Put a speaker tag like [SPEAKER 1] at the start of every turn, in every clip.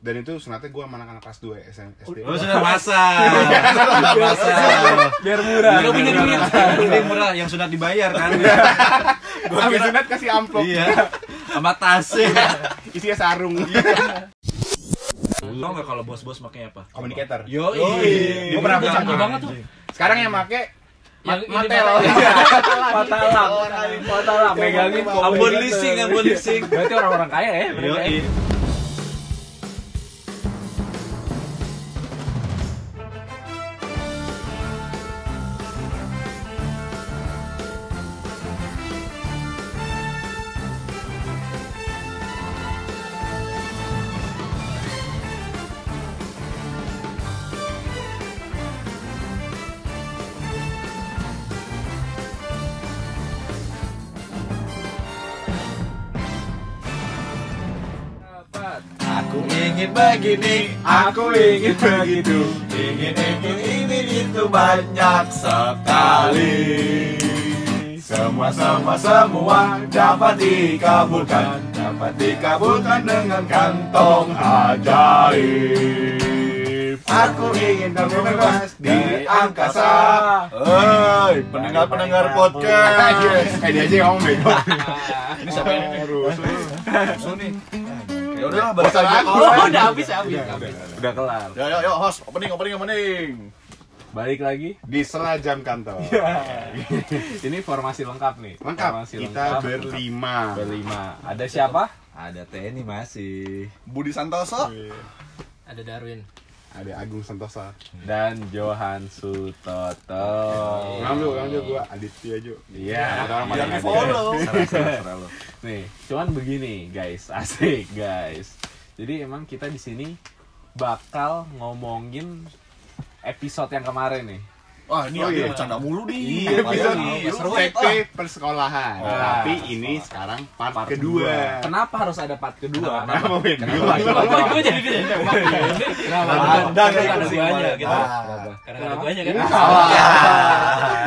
[SPEAKER 1] dan itu sunatnya gue sama anak-anak kelas 2 SM, SD
[SPEAKER 2] Lu Oh, sudah pasang. Sudah pasang.
[SPEAKER 3] biar Iya. murah Iya.
[SPEAKER 2] Lu punya duit. Lu punya murah yang sudah dibayar kan. Gua
[SPEAKER 1] Abis
[SPEAKER 2] kira-
[SPEAKER 1] sunat kasih amplop
[SPEAKER 2] Iya. Sama tas.
[SPEAKER 3] Iya.
[SPEAKER 1] isinya sarung
[SPEAKER 2] Lu enggak kalau bos-bos makanya apa?
[SPEAKER 1] Communicator.
[SPEAKER 2] Yo,
[SPEAKER 3] Yoi.
[SPEAKER 1] Gua pernah
[SPEAKER 3] Itu canggih
[SPEAKER 1] pakai.
[SPEAKER 3] banget tuh
[SPEAKER 1] sekarang yang make
[SPEAKER 3] Yang ini
[SPEAKER 1] matel
[SPEAKER 3] Patalam, patalam, megangin
[SPEAKER 2] Ambon leasing, ambon leasing.
[SPEAKER 3] Berarti orang-orang kaya ya
[SPEAKER 2] Yo,
[SPEAKER 3] mereka ya.
[SPEAKER 2] Aku ingin begini, aku ingin begitu, ingin itu, ingin itu banyak sekali. Semua sama semua dapat dikabulkan, dapat dikabulkan dengan kantong ajaib. Aku ingin kamu bebas di angkasa. Hei, pendengar-pendengar podcast.
[SPEAKER 1] eh dia aja yang ngomong bego
[SPEAKER 3] ya.
[SPEAKER 2] Ini siapa ini? Rusuh nih. Ya udah, balik
[SPEAKER 1] Bosan
[SPEAKER 2] lagi.
[SPEAKER 1] aku.
[SPEAKER 3] Oh, udah habis, habis, habis. Udah kelar.
[SPEAKER 2] Ya, ya, ya, host, opening, opening, opening.
[SPEAKER 3] Balik lagi.
[SPEAKER 1] di serajam kantor
[SPEAKER 3] Ini formasi lengkap nih.
[SPEAKER 1] lengkap
[SPEAKER 3] Formasi
[SPEAKER 1] kita
[SPEAKER 3] lengkap.
[SPEAKER 1] berlima
[SPEAKER 3] Berlima. Ada siapa?
[SPEAKER 2] Ada TNI masih. Budi Santoso.
[SPEAKER 4] Ada Darwin.
[SPEAKER 1] ada Agung Santosa
[SPEAKER 3] Dan Johan Sutoto.
[SPEAKER 1] ngambil ngambil gue Aditya Jo Oh, Ada
[SPEAKER 3] Iya.
[SPEAKER 1] orang
[SPEAKER 3] Iya,
[SPEAKER 1] mana?
[SPEAKER 3] di-follow. Nih, cuman begini guys, asik guys. Jadi emang kita di sini bakal ngomongin episode yang kemarin nih.
[SPEAKER 2] Wah, ini
[SPEAKER 1] Oh,
[SPEAKER 2] ada
[SPEAKER 1] iya.
[SPEAKER 2] bercanda mulu nih.
[SPEAKER 1] Iya,
[SPEAKER 2] Padahal
[SPEAKER 1] episode
[SPEAKER 2] nih, seru banget.
[SPEAKER 1] PT persekolahan.
[SPEAKER 3] Oh.
[SPEAKER 1] Tapi ini sekarang part,
[SPEAKER 3] Part
[SPEAKER 1] kedua.
[SPEAKER 3] Kenapa harus ada part kedua?
[SPEAKER 1] Kenapa Ben?
[SPEAKER 3] Kenapa?
[SPEAKER 1] Kenapa?
[SPEAKER 3] gitu Kenapa?
[SPEAKER 4] Gue jadi dia.
[SPEAKER 3] Kenapa?
[SPEAKER 2] Ah, dan
[SPEAKER 3] Dan ada
[SPEAKER 2] itu sih
[SPEAKER 3] guanya
[SPEAKER 2] kemarin.
[SPEAKER 3] gitu.
[SPEAKER 2] Ah.
[SPEAKER 4] Karena ada guanya kan.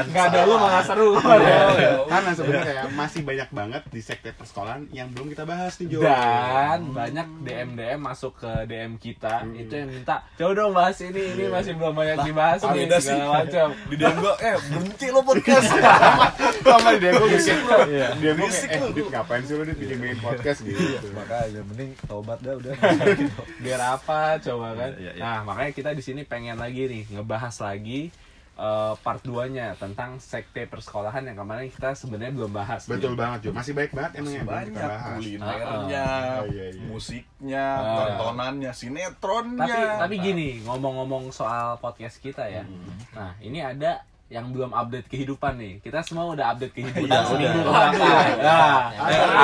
[SPEAKER 3] Enggak ada lu mah Iya. nggak seru. Iya.
[SPEAKER 1] Karena sebenarnya ya, masih banyak banget di sekte persekolahan yang belum kita bahas nih Jo.
[SPEAKER 3] Dan banyak DM DM masuk ke DM kita
[SPEAKER 1] Hmm.
[SPEAKER 3] itu yang minta, "Coba dong bahas ini, ini masih belum banyak dibahas
[SPEAKER 2] ah,
[SPEAKER 3] nih
[SPEAKER 2] beda
[SPEAKER 3] segala
[SPEAKER 2] sih.
[SPEAKER 3] macam."
[SPEAKER 2] Di DM gua, eh berhenti lo podcast.
[SPEAKER 1] sama di demo gitu.
[SPEAKER 3] Iya.
[SPEAKER 1] Demo
[SPEAKER 2] Berisik
[SPEAKER 1] kayak, eh
[SPEAKER 2] lu.
[SPEAKER 1] Dit, ngapain sih lu Dit bikin bikin podcast gitu.
[SPEAKER 2] Makanya
[SPEAKER 5] Ya,
[SPEAKER 2] mending tobat dah udah.
[SPEAKER 3] biar apa coba kan
[SPEAKER 2] Iya, iya, iya.
[SPEAKER 3] nah makanya kita di sini pengen lagi nih ngebahas lagi eh, part 2-nya tentang sekte persekolahan yang kemarin kita sebenarnya belum bahas
[SPEAKER 1] Betul
[SPEAKER 3] nih.
[SPEAKER 1] banget Jo, masih baik banget emang yang belum kita
[SPEAKER 2] Banyak
[SPEAKER 1] bahas.
[SPEAKER 2] kulinernya,
[SPEAKER 1] Oh, iya, iya.
[SPEAKER 2] musiknya,
[SPEAKER 3] Ah.
[SPEAKER 2] tontonannya, sinetronnya.
[SPEAKER 3] tapi tapi gini ngomong-ngomong soal podcast kita ya
[SPEAKER 2] Hmm.
[SPEAKER 3] nah ini ada yang belum update kehidupan nih kita semua udah update kehidupan
[SPEAKER 2] Iya,
[SPEAKER 3] seminggu
[SPEAKER 2] udah.
[SPEAKER 3] kebelakang. Nah,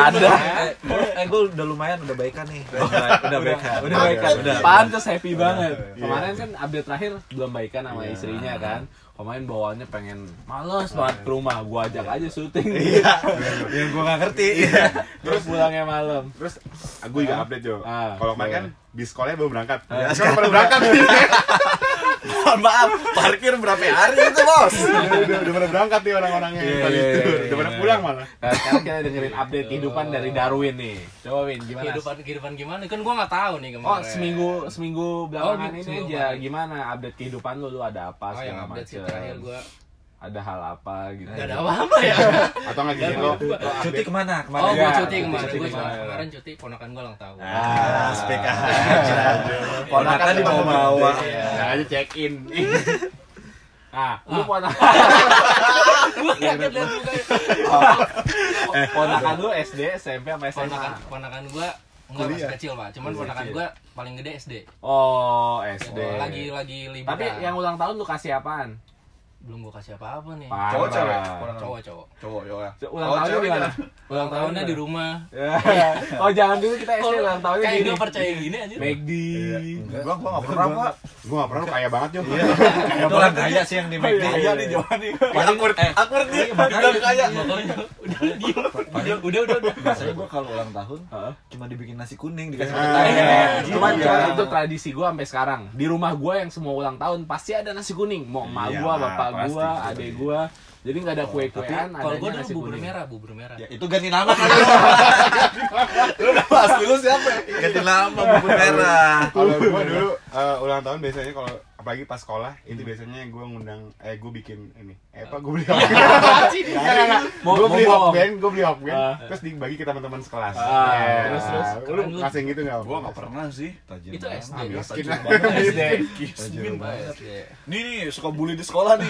[SPEAKER 3] ada
[SPEAKER 5] eh gue udah lumayan udah baikan nih udah baikan
[SPEAKER 3] udah
[SPEAKER 1] Ada.
[SPEAKER 3] baik kan
[SPEAKER 2] Udah. Iya.
[SPEAKER 3] pantes happy banget
[SPEAKER 1] Iya.
[SPEAKER 3] kemarin kan update terakhir belum baikan sama istrinya kan kemarin bawaannya pengen males banget ke rumah gua ajak aja syuting
[SPEAKER 2] Iya.
[SPEAKER 5] yang gue gak Ya, ngerti
[SPEAKER 3] terus pulangnya malam
[SPEAKER 1] Terus gue juga update Jo.
[SPEAKER 3] Ah,
[SPEAKER 1] Kalau kemarin kan di sekolahnya belum berangkat.
[SPEAKER 3] Ah.
[SPEAKER 1] Sekarang pada berangkat.
[SPEAKER 5] mohon maaf parkir berapa hari itu bos
[SPEAKER 1] Udah udah- udah pada berangkat nih orang-orangnya.
[SPEAKER 3] Iya,
[SPEAKER 1] Tadi
[SPEAKER 3] iya,
[SPEAKER 1] itu.
[SPEAKER 3] iya,
[SPEAKER 1] Udah pada
[SPEAKER 3] iya.
[SPEAKER 1] pulang malah.
[SPEAKER 3] nah, sekarang kita dengerin update kehidupan dari Darwin nih coba Win gimana
[SPEAKER 4] Kehidupan kehidupan gimana? Kan gua nggak tahu nih kemarin.
[SPEAKER 3] Oh seminggu seminggu belakangan
[SPEAKER 4] Oh,
[SPEAKER 3] ini
[SPEAKER 4] seminggu
[SPEAKER 3] aja
[SPEAKER 4] kemarin.
[SPEAKER 3] gimana update kehidupan lu lu ada apa
[SPEAKER 4] Oh, yang
[SPEAKER 3] segala
[SPEAKER 4] update sih
[SPEAKER 3] macem.
[SPEAKER 4] terakhir gua
[SPEAKER 3] ada hal apa gitu
[SPEAKER 4] nggak ada apa-apa ya.
[SPEAKER 1] Atau nggak gini lo. lo
[SPEAKER 5] cuti
[SPEAKER 1] update
[SPEAKER 5] kemana
[SPEAKER 4] Oh,
[SPEAKER 5] kemarin
[SPEAKER 4] gua
[SPEAKER 3] Iya,
[SPEAKER 4] cuti kemarin.
[SPEAKER 3] cuti
[SPEAKER 4] Gua cuma-
[SPEAKER 3] kemarin.
[SPEAKER 4] kemarin cuti ponakan gua ulang tahun.
[SPEAKER 5] ah spek aja
[SPEAKER 2] Ponakan
[SPEAKER 3] Iya.
[SPEAKER 5] ponakan dibawa bawa
[SPEAKER 4] Iya.
[SPEAKER 1] Caranya check in.
[SPEAKER 3] nah lu
[SPEAKER 4] Ah.
[SPEAKER 3] ponakan
[SPEAKER 4] Gua kaget liat mukanya.
[SPEAKER 3] ponakan lu SD SMP apa SMA
[SPEAKER 4] Ponakan ponakan gua enggak masih kecil, Pak. Cuman ponakan gua paling gede SD.
[SPEAKER 3] oh SD
[SPEAKER 4] Lagi lagi liburan.
[SPEAKER 3] tapi yang ulang tahun lu kasih apaan
[SPEAKER 4] belum gua kasih apa-apa nih.
[SPEAKER 2] Cowok
[SPEAKER 3] Parah.
[SPEAKER 2] cewek?
[SPEAKER 4] Cowok-cowok.
[SPEAKER 2] Cowok, yo ya.
[SPEAKER 3] Ulang
[SPEAKER 2] Oh,
[SPEAKER 3] tahunnya
[SPEAKER 2] cewek
[SPEAKER 3] gimana?
[SPEAKER 4] Ulang tahunnya di rumah.
[SPEAKER 3] Ya. oh jangan dulu kita SD ulang tahunnya
[SPEAKER 4] Kayak
[SPEAKER 3] gini.
[SPEAKER 4] gua Iya. percaya gini aja.
[SPEAKER 3] McD.
[SPEAKER 2] Gua gua enggak pernah, Pak.
[SPEAKER 1] Gue gak pernah lu kaya banget Jo.
[SPEAKER 3] Iya.
[SPEAKER 5] itu orang kaya sih yang di McD Eh,
[SPEAKER 2] Iya nih Johan nih.
[SPEAKER 5] Padahal gue aku ngerti
[SPEAKER 4] Udah kaya. Iya, Pokoknya udah diem. Udah udah udah. udah.
[SPEAKER 5] biasanya gue kalau ulang tahun
[SPEAKER 3] Heeh.
[SPEAKER 5] cuma dibikin nasi kuning dikasih ya,
[SPEAKER 1] Nah,
[SPEAKER 5] kentang
[SPEAKER 1] Iya.
[SPEAKER 3] Cuman
[SPEAKER 1] Iya.
[SPEAKER 3] cuman itu tradisi gua sampai sekarang. Di rumah gua yang semua ulang tahun pasti ada nasi kuning. Mau emak
[SPEAKER 5] Iya,
[SPEAKER 3] gua,
[SPEAKER 5] Mas.
[SPEAKER 3] bapak kakak
[SPEAKER 5] Pasti,
[SPEAKER 3] gua,
[SPEAKER 5] pasti.
[SPEAKER 3] adek gua. Jadi nggak ada kue-kuean,
[SPEAKER 4] Kalau gua
[SPEAKER 3] adanya
[SPEAKER 4] dulu
[SPEAKER 3] nasi
[SPEAKER 4] bubur
[SPEAKER 3] kuning.
[SPEAKER 4] merah, bubur merah.
[SPEAKER 5] Ya, itu ganti nama kan lu. Lu udah bahas dulu siapa? Ganti nama bubur merah.
[SPEAKER 1] kalau gue dulu eh, ulang tahun biasanya kalau apalagi pas sekolah itu biasanya gue ngundang eh gue bikin ini eh apa gue beli
[SPEAKER 3] Mau-
[SPEAKER 1] gue
[SPEAKER 3] mau
[SPEAKER 1] beli
[SPEAKER 3] bohong.
[SPEAKER 1] hokben gue beli hokben
[SPEAKER 3] Ah.
[SPEAKER 1] terus dibagi ke teman-teman sekelas
[SPEAKER 3] Ah,
[SPEAKER 1] Ya.
[SPEAKER 3] terus, terus.
[SPEAKER 1] lu
[SPEAKER 4] Keren lu.
[SPEAKER 1] ngerasain gitu nggak
[SPEAKER 2] Gua nggak pernah sih. ya, Tajir
[SPEAKER 4] Itu
[SPEAKER 2] banget.
[SPEAKER 4] SD.
[SPEAKER 1] Ah, miskin
[SPEAKER 2] Tajir
[SPEAKER 1] lah.
[SPEAKER 2] banget.
[SPEAKER 3] SD.
[SPEAKER 2] Tajir
[SPEAKER 4] Pak,
[SPEAKER 2] banget.
[SPEAKER 4] SD.
[SPEAKER 2] Nih nih suka bully di sekolah nih.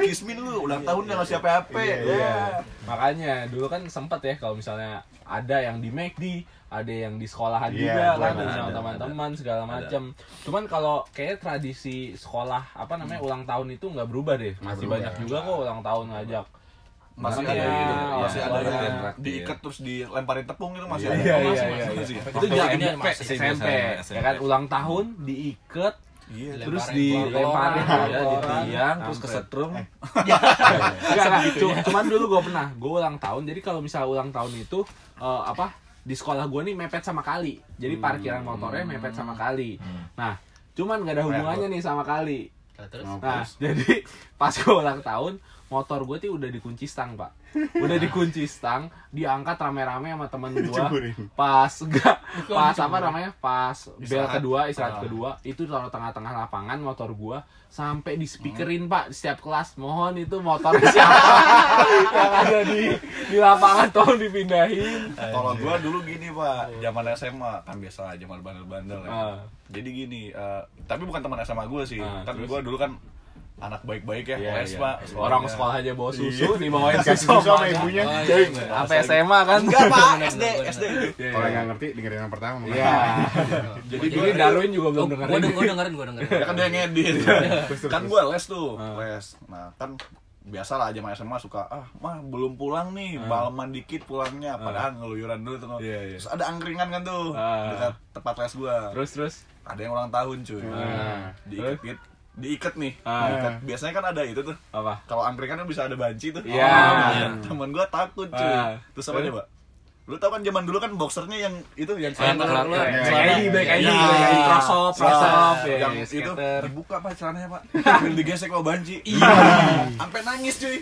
[SPEAKER 2] Eh, Kismin lu ulang tahun nggak ngasih HP-HP.
[SPEAKER 1] Iya, iya.
[SPEAKER 2] Ya.
[SPEAKER 3] Makanya dulu kan sempet ya kalau misalnya ada yang di McD, ada yang di sekolahan
[SPEAKER 1] Iya,
[SPEAKER 3] juga kan
[SPEAKER 1] ada,
[SPEAKER 3] sama
[SPEAKER 5] ada,
[SPEAKER 3] teman-teman segala macam. Cuman kalau kayak tradisi sekolah apa namanya ulang tahun itu nggak berubah deh. Masih banyak juga kok ulang tahun ngajak.
[SPEAKER 2] Masih
[SPEAKER 3] Karena
[SPEAKER 2] ada
[SPEAKER 3] ya,
[SPEAKER 2] gitu.
[SPEAKER 3] orang
[SPEAKER 2] Masih ada ya.
[SPEAKER 3] tuanya.
[SPEAKER 2] yang
[SPEAKER 5] Traktir.
[SPEAKER 2] diikat terus dilemparin tepung itu masih ada.
[SPEAKER 3] Iya,
[SPEAKER 2] Oh,
[SPEAKER 3] iya,
[SPEAKER 2] masih,
[SPEAKER 3] iya,
[SPEAKER 2] masih,
[SPEAKER 3] iya.
[SPEAKER 2] masih.
[SPEAKER 3] Itu
[SPEAKER 4] Waktu
[SPEAKER 3] jangan
[SPEAKER 4] ini ada
[SPEAKER 3] SMP,
[SPEAKER 4] masih
[SPEAKER 3] SMP,
[SPEAKER 5] SMP.
[SPEAKER 3] ya kan ulang tahun diiket
[SPEAKER 2] Iya.
[SPEAKER 3] terus
[SPEAKER 4] Lemparin
[SPEAKER 3] dilemparin
[SPEAKER 4] keluar
[SPEAKER 5] Iya,
[SPEAKER 3] ya, di
[SPEAKER 5] orang.
[SPEAKER 3] tiang terus
[SPEAKER 5] Kampret.
[SPEAKER 3] kesetrum
[SPEAKER 5] Eh,
[SPEAKER 3] Enggak, enggak. Cu- cuman dulu gue pernah gue ulang tahun jadi kalau misalnya ulang tahun itu eh, apa di sekolah gue nih mepet sama kali jadi parkiran motornya mepet sama kali nah cuman gak ada hubungannya nih sama kali
[SPEAKER 4] Nah, Terus
[SPEAKER 3] nah jadi pas gue ulang tahun motor gue tuh udah dikunci stang pak udah dikunci stang diangkat rame-rame sama temen gue
[SPEAKER 1] Diceburin.
[SPEAKER 3] pas enggak
[SPEAKER 4] Bukan
[SPEAKER 3] pas apa
[SPEAKER 4] diceburin.
[SPEAKER 3] namanya pas bel
[SPEAKER 2] Istirahat.
[SPEAKER 3] kedua istirahat
[SPEAKER 4] Ah.
[SPEAKER 3] kedua itu taruh tengah-tengah lapangan motor gua sampai di speakerin pak di setiap kelas mohon itu motor siapa yang ada di di lapangan tolong dipindahin
[SPEAKER 2] Kalau gua dulu gini pak, zaman SMA kan biasa zaman bandel-bandel ya.
[SPEAKER 3] Iya. Ah.
[SPEAKER 2] Jadi gini, eh, tapi bukan teman SMA gua sih,
[SPEAKER 3] Ah,
[SPEAKER 2] tapi
[SPEAKER 3] terus? Iya,
[SPEAKER 2] gua dulu kan anak baik-baik ya, les pak. sekolahnya.
[SPEAKER 3] orang sekolah aja bawa susu dibawain
[SPEAKER 1] kasih
[SPEAKER 3] susu
[SPEAKER 1] susu sama
[SPEAKER 3] Pak.
[SPEAKER 1] ibunya
[SPEAKER 4] Oh, iya,
[SPEAKER 1] Jadi,
[SPEAKER 4] bener.
[SPEAKER 3] sampai SMA kan
[SPEAKER 2] Enggak pak,
[SPEAKER 4] Bener,
[SPEAKER 2] SD,
[SPEAKER 4] bener,
[SPEAKER 2] SD.
[SPEAKER 3] Iya,
[SPEAKER 1] kalau
[SPEAKER 3] iya.
[SPEAKER 1] nggak ngerti dengerin yang pertama
[SPEAKER 3] Iya.
[SPEAKER 2] Jadi
[SPEAKER 3] ini
[SPEAKER 2] gua-
[SPEAKER 3] Darwin juga
[SPEAKER 4] Gua
[SPEAKER 3] belum
[SPEAKER 4] gua
[SPEAKER 3] dengerin
[SPEAKER 4] deng- gua dengerin, gua dengerin.
[SPEAKER 2] Ya kan dia yang
[SPEAKER 3] Iya,
[SPEAKER 2] ngedit. kan gua les tuh,
[SPEAKER 3] Ah.
[SPEAKER 2] les. Nah kan biasa lah zaman SMA suka ah mah belum pulang nih balaman dikit pulangnya padahal ngeluyuran dulu tuh
[SPEAKER 3] Iya, Ah. iya.
[SPEAKER 2] terus ada angkringan kan tuh
[SPEAKER 3] Ah.
[SPEAKER 2] dekat tempat les gua
[SPEAKER 3] terus terus
[SPEAKER 2] ada yang ulang tahun cuy
[SPEAKER 3] Ah.
[SPEAKER 2] diikat diikat nih
[SPEAKER 3] Ah.
[SPEAKER 2] diikat. biasanya kan ada itu tuh
[SPEAKER 3] apa
[SPEAKER 2] kalau angkringan kan bisa ada banci tuh
[SPEAKER 3] Iya.
[SPEAKER 2] Oh, temen gua takut cuy
[SPEAKER 3] Ah.
[SPEAKER 2] terus apa dia mbak lu tau kan zaman dulu kan boxernya yang itu yang
[SPEAKER 4] Celana
[SPEAKER 2] celana
[SPEAKER 4] keluar.
[SPEAKER 2] yang
[SPEAKER 3] Back
[SPEAKER 2] celana-
[SPEAKER 3] ID, back ID,
[SPEAKER 2] Ya,
[SPEAKER 3] back ID, cross off, cross
[SPEAKER 2] celana
[SPEAKER 3] off, ya,
[SPEAKER 2] yang
[SPEAKER 3] ya,
[SPEAKER 2] itu
[SPEAKER 3] skater.
[SPEAKER 2] dibuka pak celananya pak Sambil digesek sama banci sampai nangis cuy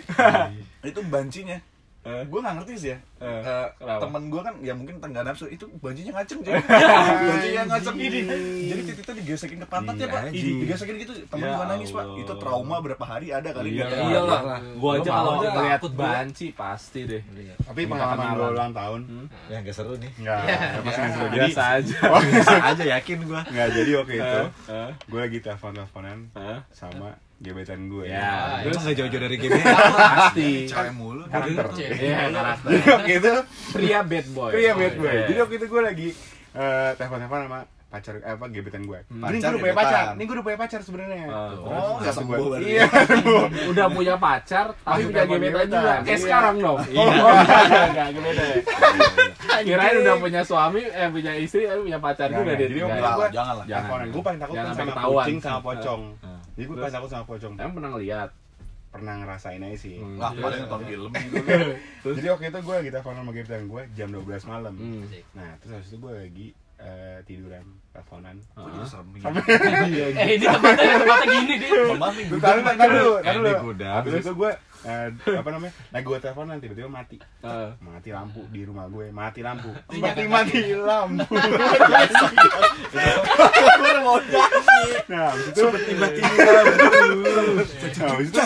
[SPEAKER 2] itu bancinya
[SPEAKER 3] Eh.
[SPEAKER 2] Gua nggak ngerti sih ya
[SPEAKER 3] Eh,
[SPEAKER 2] Eh,
[SPEAKER 3] kenapa?
[SPEAKER 2] temen gua kan ya mungkin tengah nafsu itu bancinya ngaceng cuy bancinya ngaceng jadi titiknya digesekin ke pantatnya
[SPEAKER 5] Iya,
[SPEAKER 2] pak Ih,
[SPEAKER 5] anjing.
[SPEAKER 2] digesekin gitu temen
[SPEAKER 3] Ya
[SPEAKER 2] gua nangis pak
[SPEAKER 3] Allah.
[SPEAKER 2] itu trauma berapa hari ada kali gitu.
[SPEAKER 3] Iya,
[SPEAKER 2] dia
[SPEAKER 4] Iya lah.
[SPEAKER 3] gua aja
[SPEAKER 4] Gua
[SPEAKER 3] kalau
[SPEAKER 4] malu, gua
[SPEAKER 3] ngeliat
[SPEAKER 4] takut, gua.
[SPEAKER 3] banci pasti deh
[SPEAKER 1] tapi pengalaman lu ulang tahun
[SPEAKER 5] Ya enggak seru nih.
[SPEAKER 1] nggak apa sih nggak seru. jadi
[SPEAKER 3] Hmm? Iya. biasa aja
[SPEAKER 5] aja yakin gua.
[SPEAKER 1] nggak jadi waktu itu
[SPEAKER 3] Eh,
[SPEAKER 1] gue lagi telepon teleponan
[SPEAKER 3] eh.
[SPEAKER 1] sama gebetan gue
[SPEAKER 3] Ya,
[SPEAKER 2] iya.
[SPEAKER 5] Terus
[SPEAKER 3] terus
[SPEAKER 5] enggak jauh-jauh dari gini.
[SPEAKER 3] pasti.
[SPEAKER 2] cewek mulu
[SPEAKER 1] karakter
[SPEAKER 4] Cek.
[SPEAKER 3] Iya, karakter.
[SPEAKER 1] jadi waktu itu
[SPEAKER 3] Pria bad boy.
[SPEAKER 1] Iya bad boy.
[SPEAKER 3] Iya.
[SPEAKER 1] Jadi waktu itu gue lagi eh telepon-telepon sama pacar eh, apa gebetan gue. ini gue
[SPEAKER 2] Pacar,
[SPEAKER 1] udah punya pacar.
[SPEAKER 2] gebetan.
[SPEAKER 1] Ini gue udah punya pacar sebenarnya.
[SPEAKER 3] Ah,
[SPEAKER 2] Oh, nggak
[SPEAKER 1] Satu
[SPEAKER 2] sembuh
[SPEAKER 1] buat-
[SPEAKER 2] berarti.
[SPEAKER 1] Iya.
[SPEAKER 3] udah punya pacar tapi
[SPEAKER 1] Masih
[SPEAKER 3] punya
[SPEAKER 1] telepon
[SPEAKER 3] gebetan
[SPEAKER 1] gebetan.
[SPEAKER 3] juga. Kayak
[SPEAKER 1] Iya.
[SPEAKER 3] sekarang dong. Iya, enggak enggak gebetan. ya. Kirain udah punya suami eh punya istri tapi punya pacar
[SPEAKER 1] Nggak,
[SPEAKER 3] juga
[SPEAKER 1] nggak.
[SPEAKER 3] deh.
[SPEAKER 1] Jadi
[SPEAKER 3] Enggak.
[SPEAKER 1] waktu itu gue
[SPEAKER 2] jangan lah
[SPEAKER 3] Jangan.
[SPEAKER 1] teleponan. Gue paling takut
[SPEAKER 3] Jangan
[SPEAKER 1] kan
[SPEAKER 3] sampai
[SPEAKER 1] sama
[SPEAKER 3] ketahuan.
[SPEAKER 1] kucing sama pocong.
[SPEAKER 3] Ah.
[SPEAKER 1] Jadi gue paling takut sama pocong.
[SPEAKER 3] Emang pernah ngeliat?
[SPEAKER 1] Pernah ngerasain aja sih.
[SPEAKER 3] Hmm.
[SPEAKER 2] lah paling nonton film
[SPEAKER 3] Terus?
[SPEAKER 1] Jadi waktu itu gue lagi telepon sama gebetan gue jam 12 malam.
[SPEAKER 3] Hmm.
[SPEAKER 1] Nah terus habis itu gue lagi eh, tiduran teleponan.
[SPEAKER 2] Kok jadi serem nih?
[SPEAKER 1] Iya,
[SPEAKER 4] Eh, ini tempatnya tempatnya gini, Dit.
[SPEAKER 2] Teman nih,
[SPEAKER 1] Gue taruh taruh dulu, taruh
[SPEAKER 5] Ini
[SPEAKER 1] dulu.
[SPEAKER 5] gudang.
[SPEAKER 1] Habis itu gue eh, apa namanya? Nah gue teleponan tiba-tiba mati.
[SPEAKER 3] Eh,
[SPEAKER 1] mati lampu di rumah gue mati lampu
[SPEAKER 4] Iya,
[SPEAKER 1] mati
[SPEAKER 4] kan?
[SPEAKER 1] mati lampu
[SPEAKER 2] gue mau nyanyi
[SPEAKER 1] nah abis itu
[SPEAKER 2] tiba-tiba
[SPEAKER 1] nah, abis itu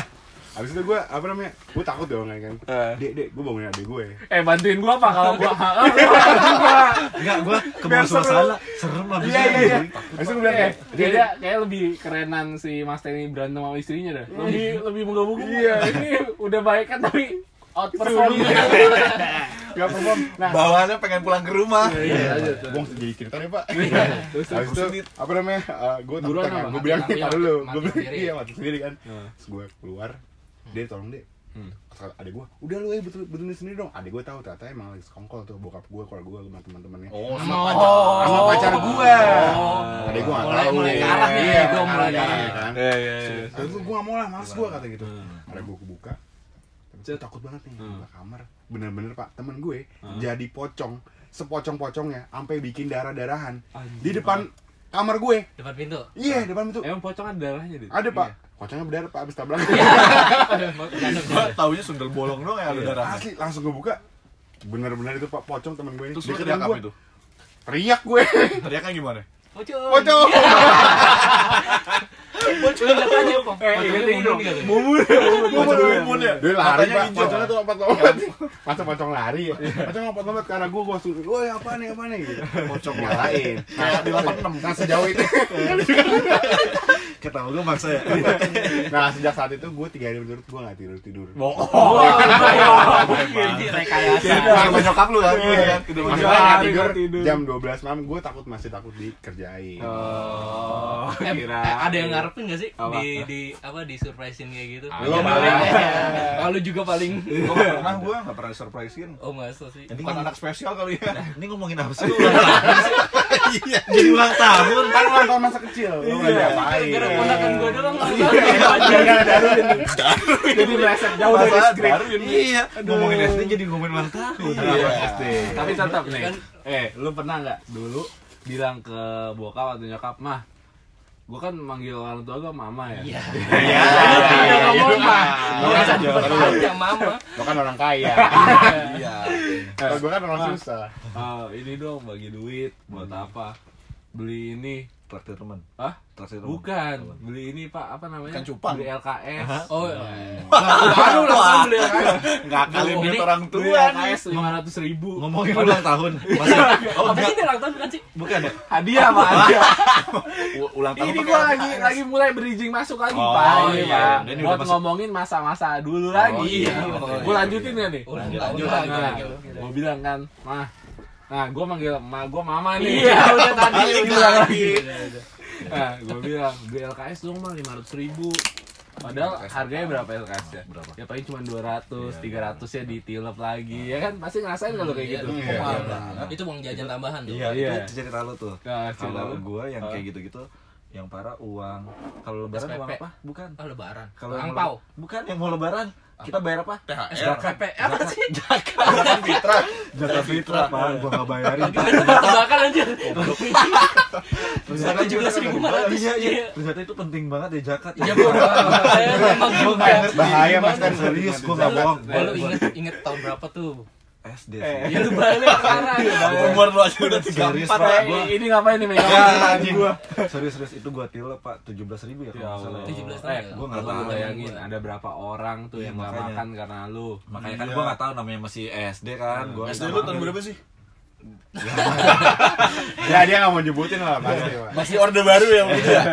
[SPEAKER 1] abis itu gue apa namanya gue takut dong kan
[SPEAKER 3] eh.
[SPEAKER 1] dek dek gue bangunin adik ya. gue
[SPEAKER 3] Eh bantuin gua apa kalau gua Ah,
[SPEAKER 5] Enggak gua ke bawah
[SPEAKER 1] Biar seru.
[SPEAKER 5] suasana. Serem lah
[SPEAKER 1] iya iya iya abis itu gue bilang
[SPEAKER 3] Eh,
[SPEAKER 1] eh dek dek
[SPEAKER 3] dia kayak lebih kerenan si Mas Teni berantem sama istrinya dah. Lebih lebih menggabung.
[SPEAKER 1] Iya.
[SPEAKER 3] Ini udah baik kan tapi outperform.
[SPEAKER 1] gak perform nah
[SPEAKER 5] Bawaannya pengen pulang ke rumah.
[SPEAKER 3] Iya, lanjut.
[SPEAKER 1] gue mesti jadi cerita deh pak
[SPEAKER 3] Terus
[SPEAKER 1] Habis itu apa namanya? gue
[SPEAKER 3] Buruan
[SPEAKER 1] takut kan.
[SPEAKER 3] apa?
[SPEAKER 1] Gue bilang
[SPEAKER 4] Mati-
[SPEAKER 1] kita
[SPEAKER 4] mati-
[SPEAKER 1] dulu.
[SPEAKER 4] mati
[SPEAKER 1] Gue bilang
[SPEAKER 4] sendiri.
[SPEAKER 1] iya mati sendiri kan.
[SPEAKER 3] Heeh.
[SPEAKER 1] Terus gue keluar. Dia tolong deh.
[SPEAKER 3] Hmm.
[SPEAKER 1] Kata adek gue, udah lu eh betul betulin sendiri dong. Adek gue tahu ternyata emang lagi sekongkol tuh bokap gue, keluarga gue sama teman-temannya.
[SPEAKER 2] oh
[SPEAKER 4] Sama
[SPEAKER 2] sama
[SPEAKER 4] pacar.
[SPEAKER 1] Sama pacar gue. Adek gue nggak
[SPEAKER 4] Mulai-
[SPEAKER 1] tahu.
[SPEAKER 4] mulai ke
[SPEAKER 1] Iya,
[SPEAKER 4] arah nih,
[SPEAKER 1] iya,
[SPEAKER 4] gua mulai ke
[SPEAKER 1] arah,
[SPEAKER 4] arah.
[SPEAKER 1] iya kan.
[SPEAKER 3] Iya, iya, iya.
[SPEAKER 1] Terus gue gue nggak mau lah, males gue kata gitu. Ada gue kebuka. Gue
[SPEAKER 3] Cet.
[SPEAKER 1] takut banget nih
[SPEAKER 3] Hmm.
[SPEAKER 1] buka kamar. Bener-bener pak, temen gue
[SPEAKER 2] Hmm.
[SPEAKER 1] jadi pocong, sepocong-pocongnya, sampai bikin darah-darahan di depan kamar gue.
[SPEAKER 4] Depan pintu.
[SPEAKER 1] Iya, depan itu.
[SPEAKER 2] Eh,
[SPEAKER 3] Emang pocong ada darahnya,
[SPEAKER 2] iya.
[SPEAKER 3] Dit?
[SPEAKER 1] Ada, Pak. kocoknya bener pak abis tabrak
[SPEAKER 2] Gua taunya sundel bolong doang ya ada
[SPEAKER 1] Iya.
[SPEAKER 2] darahnya.
[SPEAKER 1] asli langsung gue buka bener-bener itu pak pocong temen gue ini
[SPEAKER 2] Terus lu
[SPEAKER 1] Deketin
[SPEAKER 2] teriak apa
[SPEAKER 1] gua.
[SPEAKER 2] itu?
[SPEAKER 1] teriak gue
[SPEAKER 2] Teriaknya gimana?
[SPEAKER 1] pocong
[SPEAKER 2] Iya,
[SPEAKER 4] Lu nggak tanya apa?
[SPEAKER 3] Eh,
[SPEAKER 4] Pocongnya
[SPEAKER 3] ingetin
[SPEAKER 4] mundur
[SPEAKER 3] dong.
[SPEAKER 4] nggak tuh?
[SPEAKER 2] iya, Mumun ya.
[SPEAKER 1] dia lari
[SPEAKER 2] Matanya
[SPEAKER 1] pak
[SPEAKER 2] hijau. Iya,
[SPEAKER 1] pocongnya tuh lompat-lompat masa pocong lari ya pocong lompat-lompat ke arah gue gue langsung woi apa nih apa nih gitu
[SPEAKER 2] Pocong
[SPEAKER 1] nyalain
[SPEAKER 2] Kayak di Iya. 86.
[SPEAKER 1] nah sejauh itu
[SPEAKER 2] Ketawa gue maksa ya.
[SPEAKER 1] nah sejak saat itu gue tiga hari berturut gue gak tidur tidur
[SPEAKER 2] Bohong.
[SPEAKER 4] Ini rekayasa.
[SPEAKER 1] Nah,
[SPEAKER 2] Sama nyokap lu kan? Iya kan? Udah
[SPEAKER 3] Masih
[SPEAKER 1] Maksudnya nggak
[SPEAKER 3] hari
[SPEAKER 1] tidur,
[SPEAKER 3] nggak tidur.
[SPEAKER 1] jam 12 malam gue takut masih takut dikerjain
[SPEAKER 3] Oh,
[SPEAKER 4] Eh,
[SPEAKER 3] kira.
[SPEAKER 4] eh, ada yang ngarepin gak sih
[SPEAKER 3] Apa?
[SPEAKER 4] di di apa di surprisein kayak gitu?
[SPEAKER 1] Belum,
[SPEAKER 4] Iya,
[SPEAKER 1] belum.
[SPEAKER 4] paling. Oh, lu juga paling.
[SPEAKER 2] Gue gak pernah, gue gak pernah surprisein
[SPEAKER 4] Oh, masa sih?
[SPEAKER 2] Ini
[SPEAKER 4] Bukan
[SPEAKER 2] anak spesial kali ya
[SPEAKER 5] Nah, Ini ngomongin apa sih? Ulang tahun sih? Jadi ulang tahun.
[SPEAKER 1] kan ulang tahun masa kecil lu nggak
[SPEAKER 2] Iya.
[SPEAKER 1] diapain
[SPEAKER 4] Gara-gara ponakan gua doang.
[SPEAKER 1] Gara-gara Darwin.
[SPEAKER 3] Jadi meleset jauh dari
[SPEAKER 2] Masalah
[SPEAKER 3] skrip.
[SPEAKER 2] Darwin.
[SPEAKER 5] Iya. Ngomongin SD jadi ngomongin ulang tahun.
[SPEAKER 1] Kenapa SD?
[SPEAKER 3] Tapi tetap nih.
[SPEAKER 4] Kan-
[SPEAKER 3] Eh, lu pernah nggak dulu bilang ke bokap atau nyokap, "Mah, gua kan manggil orang tua gua mama ya."
[SPEAKER 4] Iya.
[SPEAKER 1] Iya.
[SPEAKER 4] Iya, ngomong, Pak.
[SPEAKER 1] Lu kan-
[SPEAKER 4] Iya, Panjang mama.
[SPEAKER 1] Lu kan orang kaya.
[SPEAKER 2] Iya
[SPEAKER 1] Kalau gue kan orang susah.
[SPEAKER 3] Eh, ini dong bagi duit buat apa? Beli ini.
[SPEAKER 5] Traktir teman.
[SPEAKER 3] Hah?
[SPEAKER 5] Traktir teman.
[SPEAKER 3] Bukan. Beli ini, Pak, apa namanya?
[SPEAKER 2] Ikan cupang.
[SPEAKER 3] Beli LKS.
[SPEAKER 4] Oh,
[SPEAKER 3] Baru langsung beli LKS.
[SPEAKER 2] Nggak kali
[SPEAKER 4] Ngomongin-
[SPEAKER 2] duit orang
[SPEAKER 3] Beli
[SPEAKER 2] tua Iya. nih
[SPEAKER 3] LKS 500 ribu.
[SPEAKER 5] Ngomongin ulang tahun. Masih
[SPEAKER 4] oh, apa sih dia ulang tahun bukan sih?
[SPEAKER 5] bukan ya?
[SPEAKER 3] Hadiah, Pak. Hadiah.
[SPEAKER 2] U- Ulang tahun
[SPEAKER 3] Ini
[SPEAKER 2] pakai
[SPEAKER 3] gua
[SPEAKER 2] apa?
[SPEAKER 3] lagi lagi mulai bridging masuk lagi,
[SPEAKER 2] Oh,
[SPEAKER 3] Pak. Ini,
[SPEAKER 4] iya.
[SPEAKER 3] Pak.
[SPEAKER 5] Ini udah
[SPEAKER 3] Buat
[SPEAKER 5] masuk.
[SPEAKER 3] ngomongin masa-masa dulu
[SPEAKER 2] Oh,
[SPEAKER 3] lagi.
[SPEAKER 4] iya.
[SPEAKER 3] Gua lanjutin ya nih.
[SPEAKER 4] Ulang
[SPEAKER 5] Lanjut,
[SPEAKER 4] tahun.
[SPEAKER 5] lanjut,
[SPEAKER 4] lagi,
[SPEAKER 3] Nah,
[SPEAKER 4] lagi, lagi.
[SPEAKER 3] gua bilang kan, "Mah, Nah, gua manggil emak gua mama nih.
[SPEAKER 4] Iya, udah tadi Iya,
[SPEAKER 2] Balik
[SPEAKER 4] udah
[SPEAKER 2] ulang
[SPEAKER 4] lagi.
[SPEAKER 2] lagi.
[SPEAKER 4] Udah, udah.
[SPEAKER 3] Nah, gua bilang, beli LKS dong mah 500 ribu. Padahal harganya berapa LKS ya?
[SPEAKER 5] Berapa?
[SPEAKER 3] Ya
[SPEAKER 5] Iya,
[SPEAKER 3] paling cuma 200, 300 ya ditilep lagi. Ya kan pasti ngerasain kalau kayak gitu.
[SPEAKER 1] Iya.
[SPEAKER 3] Oh,
[SPEAKER 4] Iya,
[SPEAKER 3] maaf.
[SPEAKER 4] Bang. Itu uang jajan tambahan tuh.
[SPEAKER 5] Iya,
[SPEAKER 3] Iya.
[SPEAKER 5] itu cerita lu tuh.
[SPEAKER 3] Nah, cerita
[SPEAKER 5] Kalau
[SPEAKER 3] lu.
[SPEAKER 5] gua yang
[SPEAKER 3] Ah.
[SPEAKER 5] kayak gitu-gitu yang parah uang kalau lebaran
[SPEAKER 4] SPP.
[SPEAKER 5] uang apa? Bukan.
[SPEAKER 4] Oh, lebaran.
[SPEAKER 5] Kalau yang mau-
[SPEAKER 4] angpau.
[SPEAKER 5] Bukan yang mau lebaran. Kita bayar apa?
[SPEAKER 2] THR
[SPEAKER 5] Zakat.
[SPEAKER 4] PP apa sih?
[SPEAKER 2] Zakat fitrah
[SPEAKER 5] Zakat fitrah, Pak. Gua enggak bayarin.
[SPEAKER 4] Tebakan anjir.
[SPEAKER 5] Ternyata
[SPEAKER 4] Zakat 17.500.
[SPEAKER 5] Iya, iya.
[SPEAKER 4] Iya.
[SPEAKER 5] Ternyata itu penting banget ya zakat.
[SPEAKER 4] Iya, Bang. Saya memang
[SPEAKER 5] Gua
[SPEAKER 4] juga.
[SPEAKER 5] nggak ngerti.
[SPEAKER 1] Bahaya, Mas,
[SPEAKER 5] Gimana?
[SPEAKER 1] kan.
[SPEAKER 5] serius gua enggak bohong.
[SPEAKER 4] Oh, lu inget inget tahun berapa tuh?
[SPEAKER 5] SD sih. Iya.
[SPEAKER 4] Ya lu balik sekarang.
[SPEAKER 2] Umur lu aja Eh, iya. udah
[SPEAKER 5] Serius,
[SPEAKER 2] 34
[SPEAKER 5] Pak.
[SPEAKER 3] Eh,
[SPEAKER 5] Gua- Iya.
[SPEAKER 3] ini ngapain nih megang
[SPEAKER 2] Ya,
[SPEAKER 3] tangan
[SPEAKER 2] Iya. anjing.
[SPEAKER 3] gua?
[SPEAKER 5] Serius, serius itu gua tilep, Pak. 17.000 ya
[SPEAKER 3] Ya
[SPEAKER 5] kalau
[SPEAKER 3] Allah.
[SPEAKER 5] enggak salah.
[SPEAKER 4] 17
[SPEAKER 3] Eh,
[SPEAKER 4] tahun.
[SPEAKER 5] gua nggak
[SPEAKER 4] Lu
[SPEAKER 3] Lu
[SPEAKER 5] paham.
[SPEAKER 3] bayangin
[SPEAKER 4] bayangin.
[SPEAKER 3] ada berapa orang tuh
[SPEAKER 5] Iya,
[SPEAKER 3] yang nggak
[SPEAKER 5] makanya.
[SPEAKER 3] makan karena lu.
[SPEAKER 5] Makanya kan gua enggak tahu namanya masih SD kan. Gua
[SPEAKER 2] SD lu Iya. tahun berapa sih?
[SPEAKER 1] Ya dia nggak mau nyebutin lah pasti. Pak.
[SPEAKER 2] Masih orde baru ya begitu ya?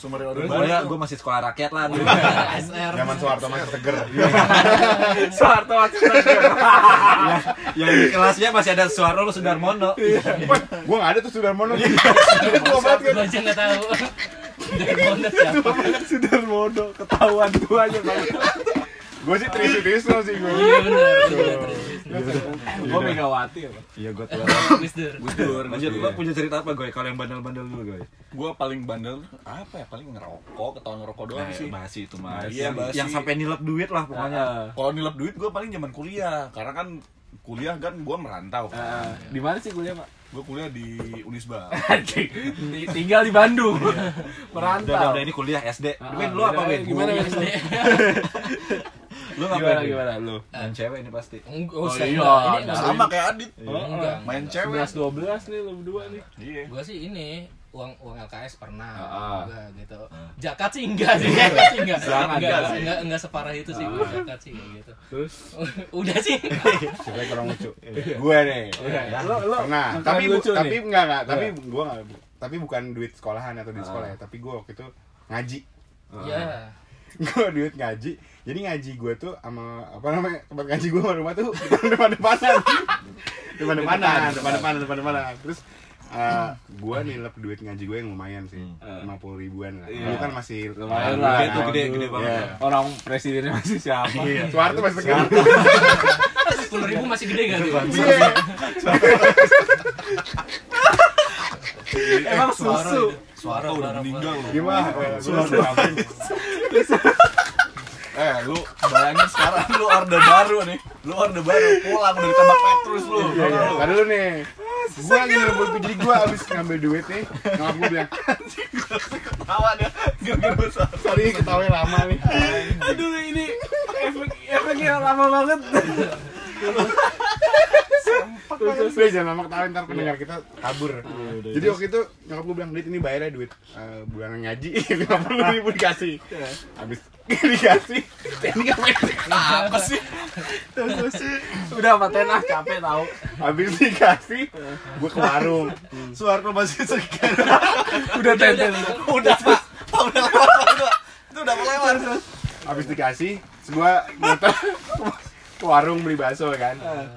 [SPEAKER 2] Sumber orde baru
[SPEAKER 5] Gua ya, Iya. gua masih sekolah rakyat lah. dulu.
[SPEAKER 2] Iya.
[SPEAKER 4] SR.
[SPEAKER 1] Zaman Soeharto masih seger.
[SPEAKER 3] Soeharto
[SPEAKER 5] Iya. yang di kelasnya masih ada suara lu Sudarmono.
[SPEAKER 2] Iya.
[SPEAKER 1] Wah, Gua nggak ada tuh Sudarmono. Itu tua banget kan.
[SPEAKER 4] Gua aja nggak tahu. Dari Bondet siapa?
[SPEAKER 3] Sudarmono ketahuan tuanya Bang.
[SPEAKER 1] Gue sih Trisi Trisno sih gue.
[SPEAKER 4] Iya benar. Benar, benar.
[SPEAKER 3] Gua Megawati ya, Bang.
[SPEAKER 5] Iya, gua tuh.
[SPEAKER 4] Gus Dur.
[SPEAKER 5] Dur, lanjut lu punya cerita apa gue kalau yang bandel-bandel dulu gue?
[SPEAKER 2] Gue paling bandel tuh apa ya? Paling ngerokok, ketahuan ngerokok doang sih Iya, Ah,
[SPEAKER 5] basi Nah, itu mah.
[SPEAKER 2] Basi.
[SPEAKER 5] Yang-
[SPEAKER 2] Basi.
[SPEAKER 5] Yang sampai nilap duit lah pokoknya.
[SPEAKER 3] Eh,
[SPEAKER 2] Kalau nilap duit gue paling zaman kuliah Karena kan kuliah kan gue merantau
[SPEAKER 3] eh, di mana sih kuliah, Pak?
[SPEAKER 2] Gue kuliah di Unisba
[SPEAKER 3] Di- Tinggal di Bandung.
[SPEAKER 5] Udah, Iya. udah,
[SPEAKER 3] Merantau.
[SPEAKER 5] udah, ini kuliah SD.
[SPEAKER 3] Ah,
[SPEAKER 5] Win lu
[SPEAKER 3] udah,
[SPEAKER 5] apa Win?
[SPEAKER 3] Gimana Win?
[SPEAKER 5] Lu ngapain?
[SPEAKER 3] Gimana
[SPEAKER 5] Win?
[SPEAKER 3] gimana lu?
[SPEAKER 5] Yang cewek ini pasti.
[SPEAKER 4] Oh,
[SPEAKER 3] iya,
[SPEAKER 4] enggak. Ini
[SPEAKER 3] ada.
[SPEAKER 4] enggak.
[SPEAKER 2] Sama kayak Adit
[SPEAKER 5] Iya.
[SPEAKER 4] Enggak.
[SPEAKER 2] Main cewek
[SPEAKER 3] 11 12 nih lu berdua nih.
[SPEAKER 2] Iya
[SPEAKER 4] Gua sih ini uang uang LKS pernah
[SPEAKER 3] Ah.
[SPEAKER 4] juga gitu. Zakat sih enggak sih, zakat sih enggak.
[SPEAKER 3] Jangan,
[SPEAKER 4] Enggak,
[SPEAKER 3] enggak sih. Ah.
[SPEAKER 4] enggak enggak separah itu sih gua zakat sih kayak gitu.
[SPEAKER 3] Terus
[SPEAKER 4] Udah sih.
[SPEAKER 1] Siapa yang kurang lucu? Gue Iya. nih.
[SPEAKER 3] Oh, lu lu
[SPEAKER 1] Pernah,
[SPEAKER 3] yang
[SPEAKER 1] tapi
[SPEAKER 3] paling
[SPEAKER 1] bu-
[SPEAKER 3] lucu
[SPEAKER 1] tapi
[SPEAKER 3] nih.
[SPEAKER 1] enggak enggak, tapi gua enggak tapi bukan duit sekolahan atau duit sekolah ya, tapi gua waktu itu ngaji.
[SPEAKER 3] Ah.
[SPEAKER 4] Ya.
[SPEAKER 1] Gua duit ngaji. Jadi ngaji gua tuh sama apa namanya? tempat ngaji gua sama rumah tuh depan-depanan. depan-depanan, depan-depanan, depan-depanan. Terus eh, gua nilep duit ngaji gue yang lumayan sih,
[SPEAKER 3] Hmm.
[SPEAKER 1] lima puluh ribuan lah.
[SPEAKER 3] Iya.
[SPEAKER 1] Dulu kan masih
[SPEAKER 3] Lumayan
[SPEAKER 5] lah.
[SPEAKER 1] Gede
[SPEAKER 5] Itu
[SPEAKER 1] tuh,
[SPEAKER 5] gede,
[SPEAKER 1] dulu.
[SPEAKER 5] gede banget.
[SPEAKER 1] Iya.
[SPEAKER 3] Orang presidennya masih siapa?
[SPEAKER 1] Soeharto masih segar.
[SPEAKER 4] 10 ribu masih gede gak tuh?
[SPEAKER 1] Iya.
[SPEAKER 3] Emang susu.
[SPEAKER 2] Suara udah meninggal loh
[SPEAKER 1] Gimana?
[SPEAKER 2] Eh lu bayangin sekarang lu orde baru nih Lu orde baru pulang udah ditembak Petrus lu
[SPEAKER 1] Iya, iya. Tadi lu nih.
[SPEAKER 3] Ah,
[SPEAKER 1] Gua lagi ngerebut jadi gua abis ngambil duit nih. Nyokap gua bilang,
[SPEAKER 2] Tawa dia
[SPEAKER 1] Sorry ketawa lama nih.
[SPEAKER 3] Aduh ini efek efeknya lama banget.
[SPEAKER 1] Udah jangan lama ketawa ntar pendengar kita kabur.
[SPEAKER 3] Iya,
[SPEAKER 1] Jadi waktu itu nyokap gue bilang, duit ini bayarnya duit eh, bulanan ngaji, lima puluh ribu dikasih.
[SPEAKER 3] Iya.
[SPEAKER 1] Habis dikasih, ini ngapain?
[SPEAKER 5] Apa sih?
[SPEAKER 1] Terus terus-
[SPEAKER 3] Udah paten ah capek tau.
[SPEAKER 1] habis dikasih, gue ke warung. Suaranya masih sekian.
[SPEAKER 3] Udah tenten.
[SPEAKER 5] Udah, Pak. Pak, udah lewat, Pak. Udah. Itu udah mau lewat.
[SPEAKER 1] Habis dikasih, terus gue muter ke warung beli bakso kan.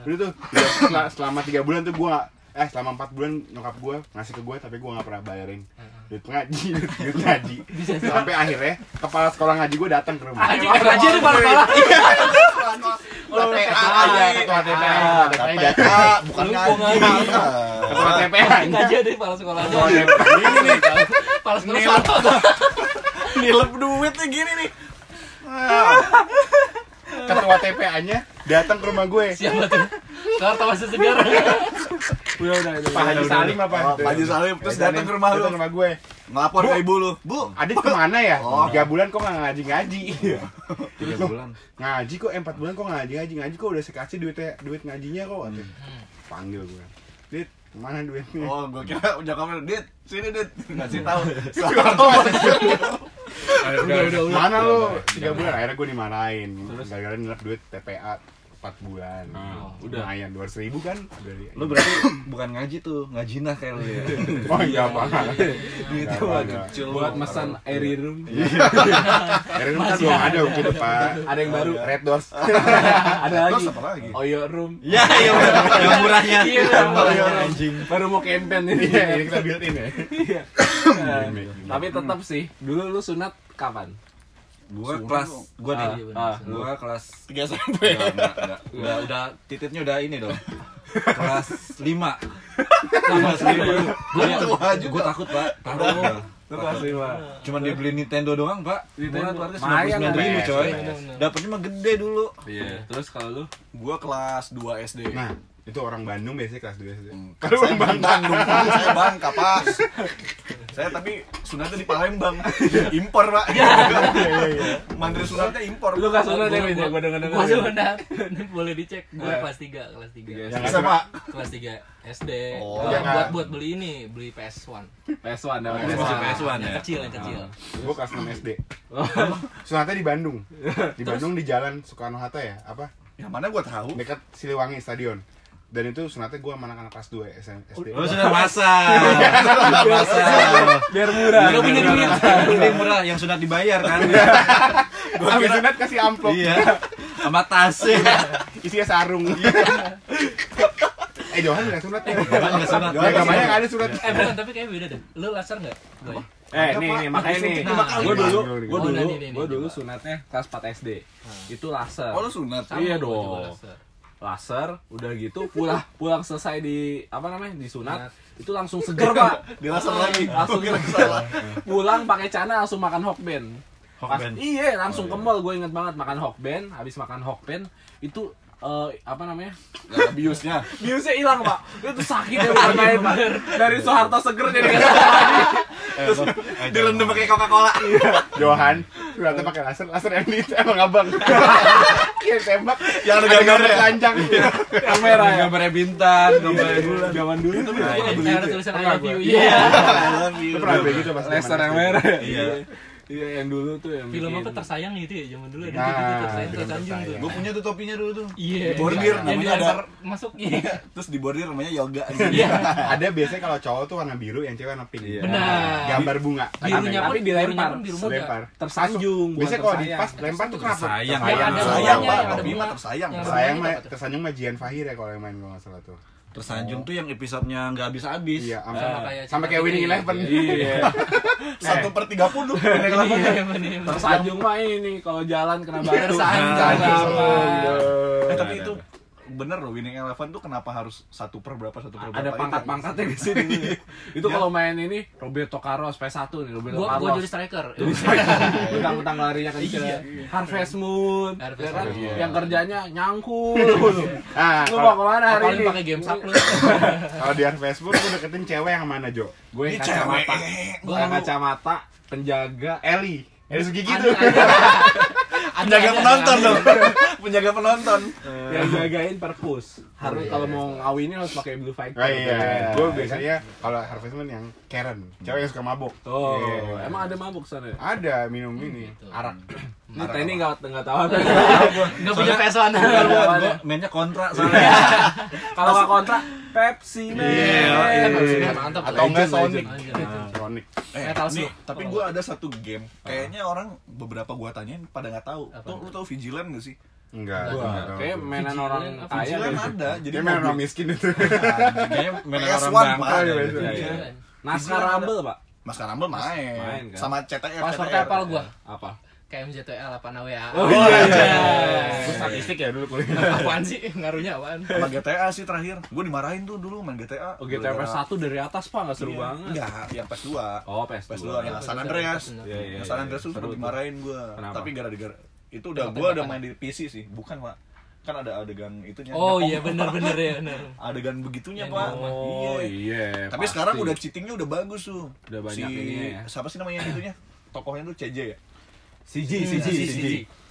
[SPEAKER 1] Udah tuh ya, setelah, selama 3 bulan tuh gue eh selama 4 bulan nyokap gue ngasih ke gue tapi gue nggak pernah bayarin duit ngaji duit, duit ngaji sampai akhirnya kepala sekolah ngaji gue datang ke rumah Iya.
[SPEAKER 4] Anjing, aja nih para
[SPEAKER 1] ketua TPA aja ketua TPA ketua TPA datang.
[SPEAKER 5] KPK, bukan
[SPEAKER 4] Lu
[SPEAKER 5] ngaji.
[SPEAKER 4] bohong aja.
[SPEAKER 1] ketua TPA
[SPEAKER 4] aja deh para sekolah aja.
[SPEAKER 1] Ketua TPA. Ini nih,
[SPEAKER 4] Para sekolah salah.
[SPEAKER 5] Nilep duitnya gini nih.
[SPEAKER 1] ketua TPA nya datang ke rumah gue
[SPEAKER 4] Siapa tuh? Sekarang tahu masih segar.
[SPEAKER 3] Udah udah. udah.
[SPEAKER 1] Pak Haji Salim apa
[SPEAKER 2] Oh, Pak Haji Salim, terus datang ke rumah lu.
[SPEAKER 1] datang ke rumah gue
[SPEAKER 2] Ngelapor ke ibu lu. Bu,
[SPEAKER 1] Adit kemana ya?
[SPEAKER 2] Oh.
[SPEAKER 1] Tiga bulan kok nggak ngaji ngaji?
[SPEAKER 2] tiga bulan.
[SPEAKER 1] ngaji kok eh, empat bulan kok nggak ngaji ngaji ngaji kok udah saya kasih duitnya duit ngajinya kok. katanya. Panggil gue. Dit, mana duitnya?
[SPEAKER 2] Oh, gua kira nyokapnya, Dit, sini Dit. Ngasih tahu.
[SPEAKER 1] udah, udah, mana lo? Tiga bulan akhirnya gue dimarahin. Gara-gara nilap duit TPA empat bulan.
[SPEAKER 3] udah.
[SPEAKER 1] Lumayan dua ribu kan? Dari,
[SPEAKER 5] Lu berarti bukan ngaji tuh, ngajinah kayak lu ya. Gitu,
[SPEAKER 1] oh iya apa? Nggak
[SPEAKER 5] Duitnya mah
[SPEAKER 1] apa-apa.
[SPEAKER 5] kecil.
[SPEAKER 3] Buat mesan Airirum.
[SPEAKER 1] Akhirnya kan belum ada waktu itu pak.
[SPEAKER 3] Ada yang baru.
[SPEAKER 1] Red Doors.
[SPEAKER 3] Ada
[SPEAKER 2] Terus
[SPEAKER 3] lagi.
[SPEAKER 2] apa lagi?
[SPEAKER 3] Oyo Room.
[SPEAKER 5] Ya, iya bener. yang murahnya.
[SPEAKER 4] Iya, yang murahnya.
[SPEAKER 5] anjing.
[SPEAKER 3] Baru mau campaign ini.
[SPEAKER 1] Iya, ini kita built in ya.
[SPEAKER 3] Iya. Tapi tetap sih. Dulu lu sunat kapan?
[SPEAKER 5] Gua kelas gua nih.
[SPEAKER 3] Ah, ah.
[SPEAKER 5] Gua kelas
[SPEAKER 2] Tiga SMP.
[SPEAKER 5] Enggak, enggak, enggak. Udah, udah titiknya udah ini dong. Kelas 5. Kelas 5. Gua
[SPEAKER 2] Tua juga.
[SPEAKER 5] Gua takut, Pak. Ah, Takut. gua.
[SPEAKER 3] Lu kelas Iya. lima.
[SPEAKER 5] Cuman dibeli Nintendo doang, Pak. Murah tuh harga
[SPEAKER 3] Lumayan,
[SPEAKER 5] 99 ribu,
[SPEAKER 1] Pak.
[SPEAKER 5] coy.
[SPEAKER 1] Lumayan,
[SPEAKER 4] lumayan.
[SPEAKER 5] Dapatnya mah gede dulu.
[SPEAKER 3] Iya. Terus kalau lu?
[SPEAKER 2] Gua kelas 2 SD.
[SPEAKER 1] Nah, itu orang Bandung biasanya kelas 2 SD.
[SPEAKER 2] Hmm.
[SPEAKER 1] Kalau orang Bandung.
[SPEAKER 2] Bandung, saya Bangka, Pak. Saya tapi sunatnya di Palembang. Impor, Pak. Iya, Mantri sunatnya impor.
[SPEAKER 3] Lu gak sunat ya,
[SPEAKER 4] Gua-
[SPEAKER 3] Win? ya? Gua denger
[SPEAKER 4] Gua
[SPEAKER 3] denger.
[SPEAKER 4] sunat. Boleh dicek. Gua kelas 3, kelas 3.
[SPEAKER 1] Yang
[SPEAKER 2] Bisa, Pak.
[SPEAKER 4] Kelas 3 SD.
[SPEAKER 2] Oh,
[SPEAKER 4] Gua
[SPEAKER 1] jangan.
[SPEAKER 4] buat buat beli ini, beli PS1.
[SPEAKER 3] PS1 ada
[SPEAKER 5] Ini masih
[SPEAKER 3] PS1.
[SPEAKER 5] PS1
[SPEAKER 4] Yang
[SPEAKER 5] ya.
[SPEAKER 4] kecil, yang kecil.
[SPEAKER 1] gue kelas 6 SD sunatnya di Bandung di Bandung di jalan Soekarno Hatta ya apa
[SPEAKER 2] Yang mana gua tahu?
[SPEAKER 1] dekat Siliwangi Stadion dan itu sunatnya gue sama anak-anak kelas 2 SM, SD
[SPEAKER 5] Lu Oh, sudah pasang. Sudah pasang.
[SPEAKER 3] Biar murah.
[SPEAKER 5] Iya,
[SPEAKER 4] Lu punya duit.
[SPEAKER 5] Yang murah yang sudah dibayar kan.
[SPEAKER 1] Gua Habis sunat kasih amplop
[SPEAKER 5] Iya. Sama tas.
[SPEAKER 1] isinya sarung eh Johan nggak sunat ya
[SPEAKER 5] Jangan enggak Iya. sunat.
[SPEAKER 1] Johan gambarnya nggak ada sunat
[SPEAKER 4] Eh, bukan, tapi kayaknya beda deh. Lu laser enggak?
[SPEAKER 3] Eh, nih, nih, makanya Nah, nih. nah,
[SPEAKER 5] Lima kali.
[SPEAKER 3] Gua dulu,
[SPEAKER 1] Lima kali.
[SPEAKER 3] gua
[SPEAKER 4] Oh,
[SPEAKER 3] dulu,
[SPEAKER 4] ini, ini, ini.
[SPEAKER 3] gua dulu sunatnya kelas 4 SD. Itu laser.
[SPEAKER 2] Oh, lu sunat.
[SPEAKER 3] Iya
[SPEAKER 4] gua juga
[SPEAKER 3] dong.
[SPEAKER 4] laser.
[SPEAKER 3] Laser, udah gitu pulang pulang selesai di apa namanya? di sunat, itu langsung seger, Pak.
[SPEAKER 2] Dirasa lagi.
[SPEAKER 3] Langsung
[SPEAKER 2] salah.
[SPEAKER 3] pulang pakai cana langsung makan hokben.
[SPEAKER 5] Hokben.
[SPEAKER 3] Pas- Iya, langsung ke mall gue inget banget makan hokben, habis makan hokben itu eh, apa namanya?
[SPEAKER 2] Nggak ada biusnya.
[SPEAKER 3] Biusnya hilang, Pak. Itu sakit ya bukan main, Pak. Dari Soeharto seger jadi nggak seger lagi.
[SPEAKER 5] Terus direndam pakai Coca-Cola.
[SPEAKER 1] Johan sunatnya pakai laser laser yang di emang abang Iya tembak
[SPEAKER 2] Yang ada
[SPEAKER 1] ada gambar
[SPEAKER 2] gambarnya.
[SPEAKER 1] telanjang
[SPEAKER 3] Yang merah ya. Iya.
[SPEAKER 5] Gambarnya bintang, gambarnya bulan.
[SPEAKER 3] Zaman dulu itu
[SPEAKER 5] Nah,
[SPEAKER 4] Eh,
[SPEAKER 5] ini.
[SPEAKER 4] ada tulisan I love you.
[SPEAKER 3] Gua-
[SPEAKER 4] Iya.
[SPEAKER 1] lu pernah begitu pas
[SPEAKER 3] laser yang merah ya.
[SPEAKER 5] Iya.
[SPEAKER 3] Iya, yang dulu tuh yang
[SPEAKER 4] Film
[SPEAKER 3] bikin.
[SPEAKER 4] apa tersayang gitu ya zaman dulu ada
[SPEAKER 1] Nah,
[SPEAKER 4] gitu tersayang
[SPEAKER 1] film
[SPEAKER 4] tersanjung tuh.
[SPEAKER 1] Tersayang.
[SPEAKER 2] Gua punya tuh topinya dulu tuh.
[SPEAKER 4] Iya.
[SPEAKER 2] Bordir,
[SPEAKER 4] Yang
[SPEAKER 2] namanya ada.
[SPEAKER 4] dilempar masuk. Iya.
[SPEAKER 2] Terus di bordir namanya yoga.
[SPEAKER 1] Iya. ada biasanya kalau cowok tuh warna biru yang cewek warna pink
[SPEAKER 4] Benar.
[SPEAKER 1] gambar bunga
[SPEAKER 4] Birunya
[SPEAKER 3] Tapi
[SPEAKER 4] pun
[SPEAKER 3] dilempar.
[SPEAKER 4] birunya pun biru muda.
[SPEAKER 1] lempar
[SPEAKER 3] tersanjung bukan
[SPEAKER 1] biasanya kalau di
[SPEAKER 3] tersayang.
[SPEAKER 1] pas lempar tuh kenapa
[SPEAKER 5] Sayang,
[SPEAKER 1] Tersayang.
[SPEAKER 4] Ada
[SPEAKER 2] Sayang,
[SPEAKER 4] bunganya,
[SPEAKER 2] Pak.
[SPEAKER 4] ada
[SPEAKER 2] Topi
[SPEAKER 4] bunga.
[SPEAKER 2] mah tersayang.
[SPEAKER 4] Yang-
[SPEAKER 1] Tersayang mah
[SPEAKER 4] Apa tuh?
[SPEAKER 1] tersanjung mah Jian Fahir ya kalau yang main kalau nggak salah tuh.
[SPEAKER 5] Tersanjung tuh yang episodenya nggak habis-habis.
[SPEAKER 1] Iya, sama
[SPEAKER 4] Sama
[SPEAKER 1] kayak
[SPEAKER 4] kayak
[SPEAKER 1] sama
[SPEAKER 4] Cinta
[SPEAKER 1] kayak Winning
[SPEAKER 4] Kita.
[SPEAKER 1] Eleven.
[SPEAKER 3] Iya.
[SPEAKER 2] Satu per tiga puluh.
[SPEAKER 4] Iya, bener.
[SPEAKER 3] Tersanjung mah ini kalau jalan kena batu.
[SPEAKER 4] Tersanjung.
[SPEAKER 3] Tersanjung.
[SPEAKER 5] Tersanjung.
[SPEAKER 2] Eh, tapi itu bener loh winning eleven tuh kenapa harus satu per berapa satu per berapa
[SPEAKER 3] ada
[SPEAKER 2] itu.
[SPEAKER 3] pangkat-pangkatnya di sini. itu
[SPEAKER 2] Ya.
[SPEAKER 3] kalau main ini Roberto Carlos P1 nih Roberto
[SPEAKER 4] Gua gua
[SPEAKER 3] Carlos.
[SPEAKER 4] jadi striker. Iya.
[SPEAKER 3] Utang-utang larinya kan Harvest Moon, Iya.
[SPEAKER 4] Harvest
[SPEAKER 3] ya kan?
[SPEAKER 4] Moon. Iya.
[SPEAKER 3] yang kerjanya nyangkul.
[SPEAKER 1] Ah,
[SPEAKER 3] Lu mau
[SPEAKER 1] kalau,
[SPEAKER 3] kemana hari
[SPEAKER 4] Apalagi
[SPEAKER 3] ini?
[SPEAKER 4] pakai game sub lu.
[SPEAKER 1] kalau di Facebook gue deketin cewek yang mana Jo?
[SPEAKER 3] Gue
[SPEAKER 2] Ini cewek.
[SPEAKER 3] kacamata, gue
[SPEAKER 4] Gua-
[SPEAKER 3] kacamata, penjaga.
[SPEAKER 1] Eli. Eli gitu. Sugigi
[SPEAKER 4] Ada,
[SPEAKER 1] tuh.
[SPEAKER 4] ada. Ada,
[SPEAKER 2] penjaga
[SPEAKER 4] ada,
[SPEAKER 2] penonton
[SPEAKER 4] ada.
[SPEAKER 2] dong penjaga penonton
[SPEAKER 3] yang jagain perpus Iya. harus kalau mau ngawinin harus pakai blue fighter
[SPEAKER 1] Oh iya, gue biasanya kalau Harvest Moon yang Karen, cewek yang suka mabuk.
[SPEAKER 3] oh
[SPEAKER 1] Iya.
[SPEAKER 3] emang ada mabuk sana ya?
[SPEAKER 1] Ada minum ini.
[SPEAKER 3] arak ini Teni nggak nggak tahu apa
[SPEAKER 4] Nggak punya PS1.
[SPEAKER 3] Iya,
[SPEAKER 5] Gue mainnya kontra soalnya.
[SPEAKER 3] kalau nggak kontra Pepsi men Kan
[SPEAKER 2] Iya,
[SPEAKER 4] Maksudnya mantap.
[SPEAKER 1] Atau enggak
[SPEAKER 5] Legend,
[SPEAKER 1] Sonic.
[SPEAKER 4] legend.
[SPEAKER 1] Nah, Sonic.
[SPEAKER 2] eh,
[SPEAKER 4] Metal
[SPEAKER 2] nih,
[SPEAKER 4] Slug.
[SPEAKER 2] tapi gue ada satu game kayaknya orang beberapa gua tanyain pada nggak tahu
[SPEAKER 4] Apa?
[SPEAKER 2] tuh lu tau vigilant gak sih
[SPEAKER 1] Enggak.
[SPEAKER 3] Wah,
[SPEAKER 1] enggak tahu.
[SPEAKER 3] kayak mainan
[SPEAKER 4] Vigilant
[SPEAKER 3] orang
[SPEAKER 4] apa?
[SPEAKER 3] kaya gitu.
[SPEAKER 2] vigilant
[SPEAKER 3] deh.
[SPEAKER 2] ada jadi kan.
[SPEAKER 1] Dia main
[SPEAKER 2] mobil-
[SPEAKER 1] orang miskin itu.
[SPEAKER 5] Kayaknya mainan orang
[SPEAKER 2] PS1
[SPEAKER 5] bangka.
[SPEAKER 2] mahal
[SPEAKER 5] deh.
[SPEAKER 1] ya,
[SPEAKER 5] Iya, iya.
[SPEAKER 4] Iya.
[SPEAKER 3] Naskah
[SPEAKER 2] Vigilant ada.
[SPEAKER 3] Rumble pak
[SPEAKER 2] Mas Karambel main,
[SPEAKER 3] Main, kan?
[SPEAKER 2] sama CTR
[SPEAKER 4] Passwordnya apal gua.
[SPEAKER 3] apa
[SPEAKER 4] KMZTL 8 WA.
[SPEAKER 3] Oh, iya.
[SPEAKER 2] Oh, iya.
[SPEAKER 1] Terus statistik ya dulu kuliah.
[SPEAKER 4] Apaan sih? Ngaruhnya apaan?
[SPEAKER 2] sama GTA sih terakhir gue dimarahin tuh dulu main GTA
[SPEAKER 3] oh GTA PS 1 dari atas pak nggak seru banget
[SPEAKER 2] Iya. enggak yang PS2
[SPEAKER 3] oh PS
[SPEAKER 2] PS2
[SPEAKER 3] 2
[SPEAKER 2] yang
[SPEAKER 4] Iya,
[SPEAKER 2] San
[SPEAKER 4] bener,
[SPEAKER 2] Andreas
[SPEAKER 4] bener.
[SPEAKER 3] Iya, iya,
[SPEAKER 2] yang San
[SPEAKER 3] iya.
[SPEAKER 2] Andreas tuh
[SPEAKER 3] Seru
[SPEAKER 2] sempat
[SPEAKER 3] tuh.
[SPEAKER 2] dimarahin gue
[SPEAKER 3] Kenapa?
[SPEAKER 2] tapi gara-gara itu udah
[SPEAKER 4] Kenapa
[SPEAKER 2] gue udah
[SPEAKER 4] tembakan?
[SPEAKER 2] main di PC sih bukan pak kan ada adegan itunya
[SPEAKER 4] Oh
[SPEAKER 2] nyepong.
[SPEAKER 4] iya bener-bener ya bener.
[SPEAKER 2] adegan begitunya
[SPEAKER 4] Yang
[SPEAKER 2] pak
[SPEAKER 3] oh
[SPEAKER 2] iya
[SPEAKER 3] iya
[SPEAKER 2] tapi
[SPEAKER 3] pasti.
[SPEAKER 2] sekarang udah cheatingnya udah bagus tuh
[SPEAKER 3] Udah banyak ininya ya.
[SPEAKER 2] siapa sih namanya itunya tokohnya tuh CJ ya
[SPEAKER 3] CG
[SPEAKER 4] Hmm,
[SPEAKER 3] CG CG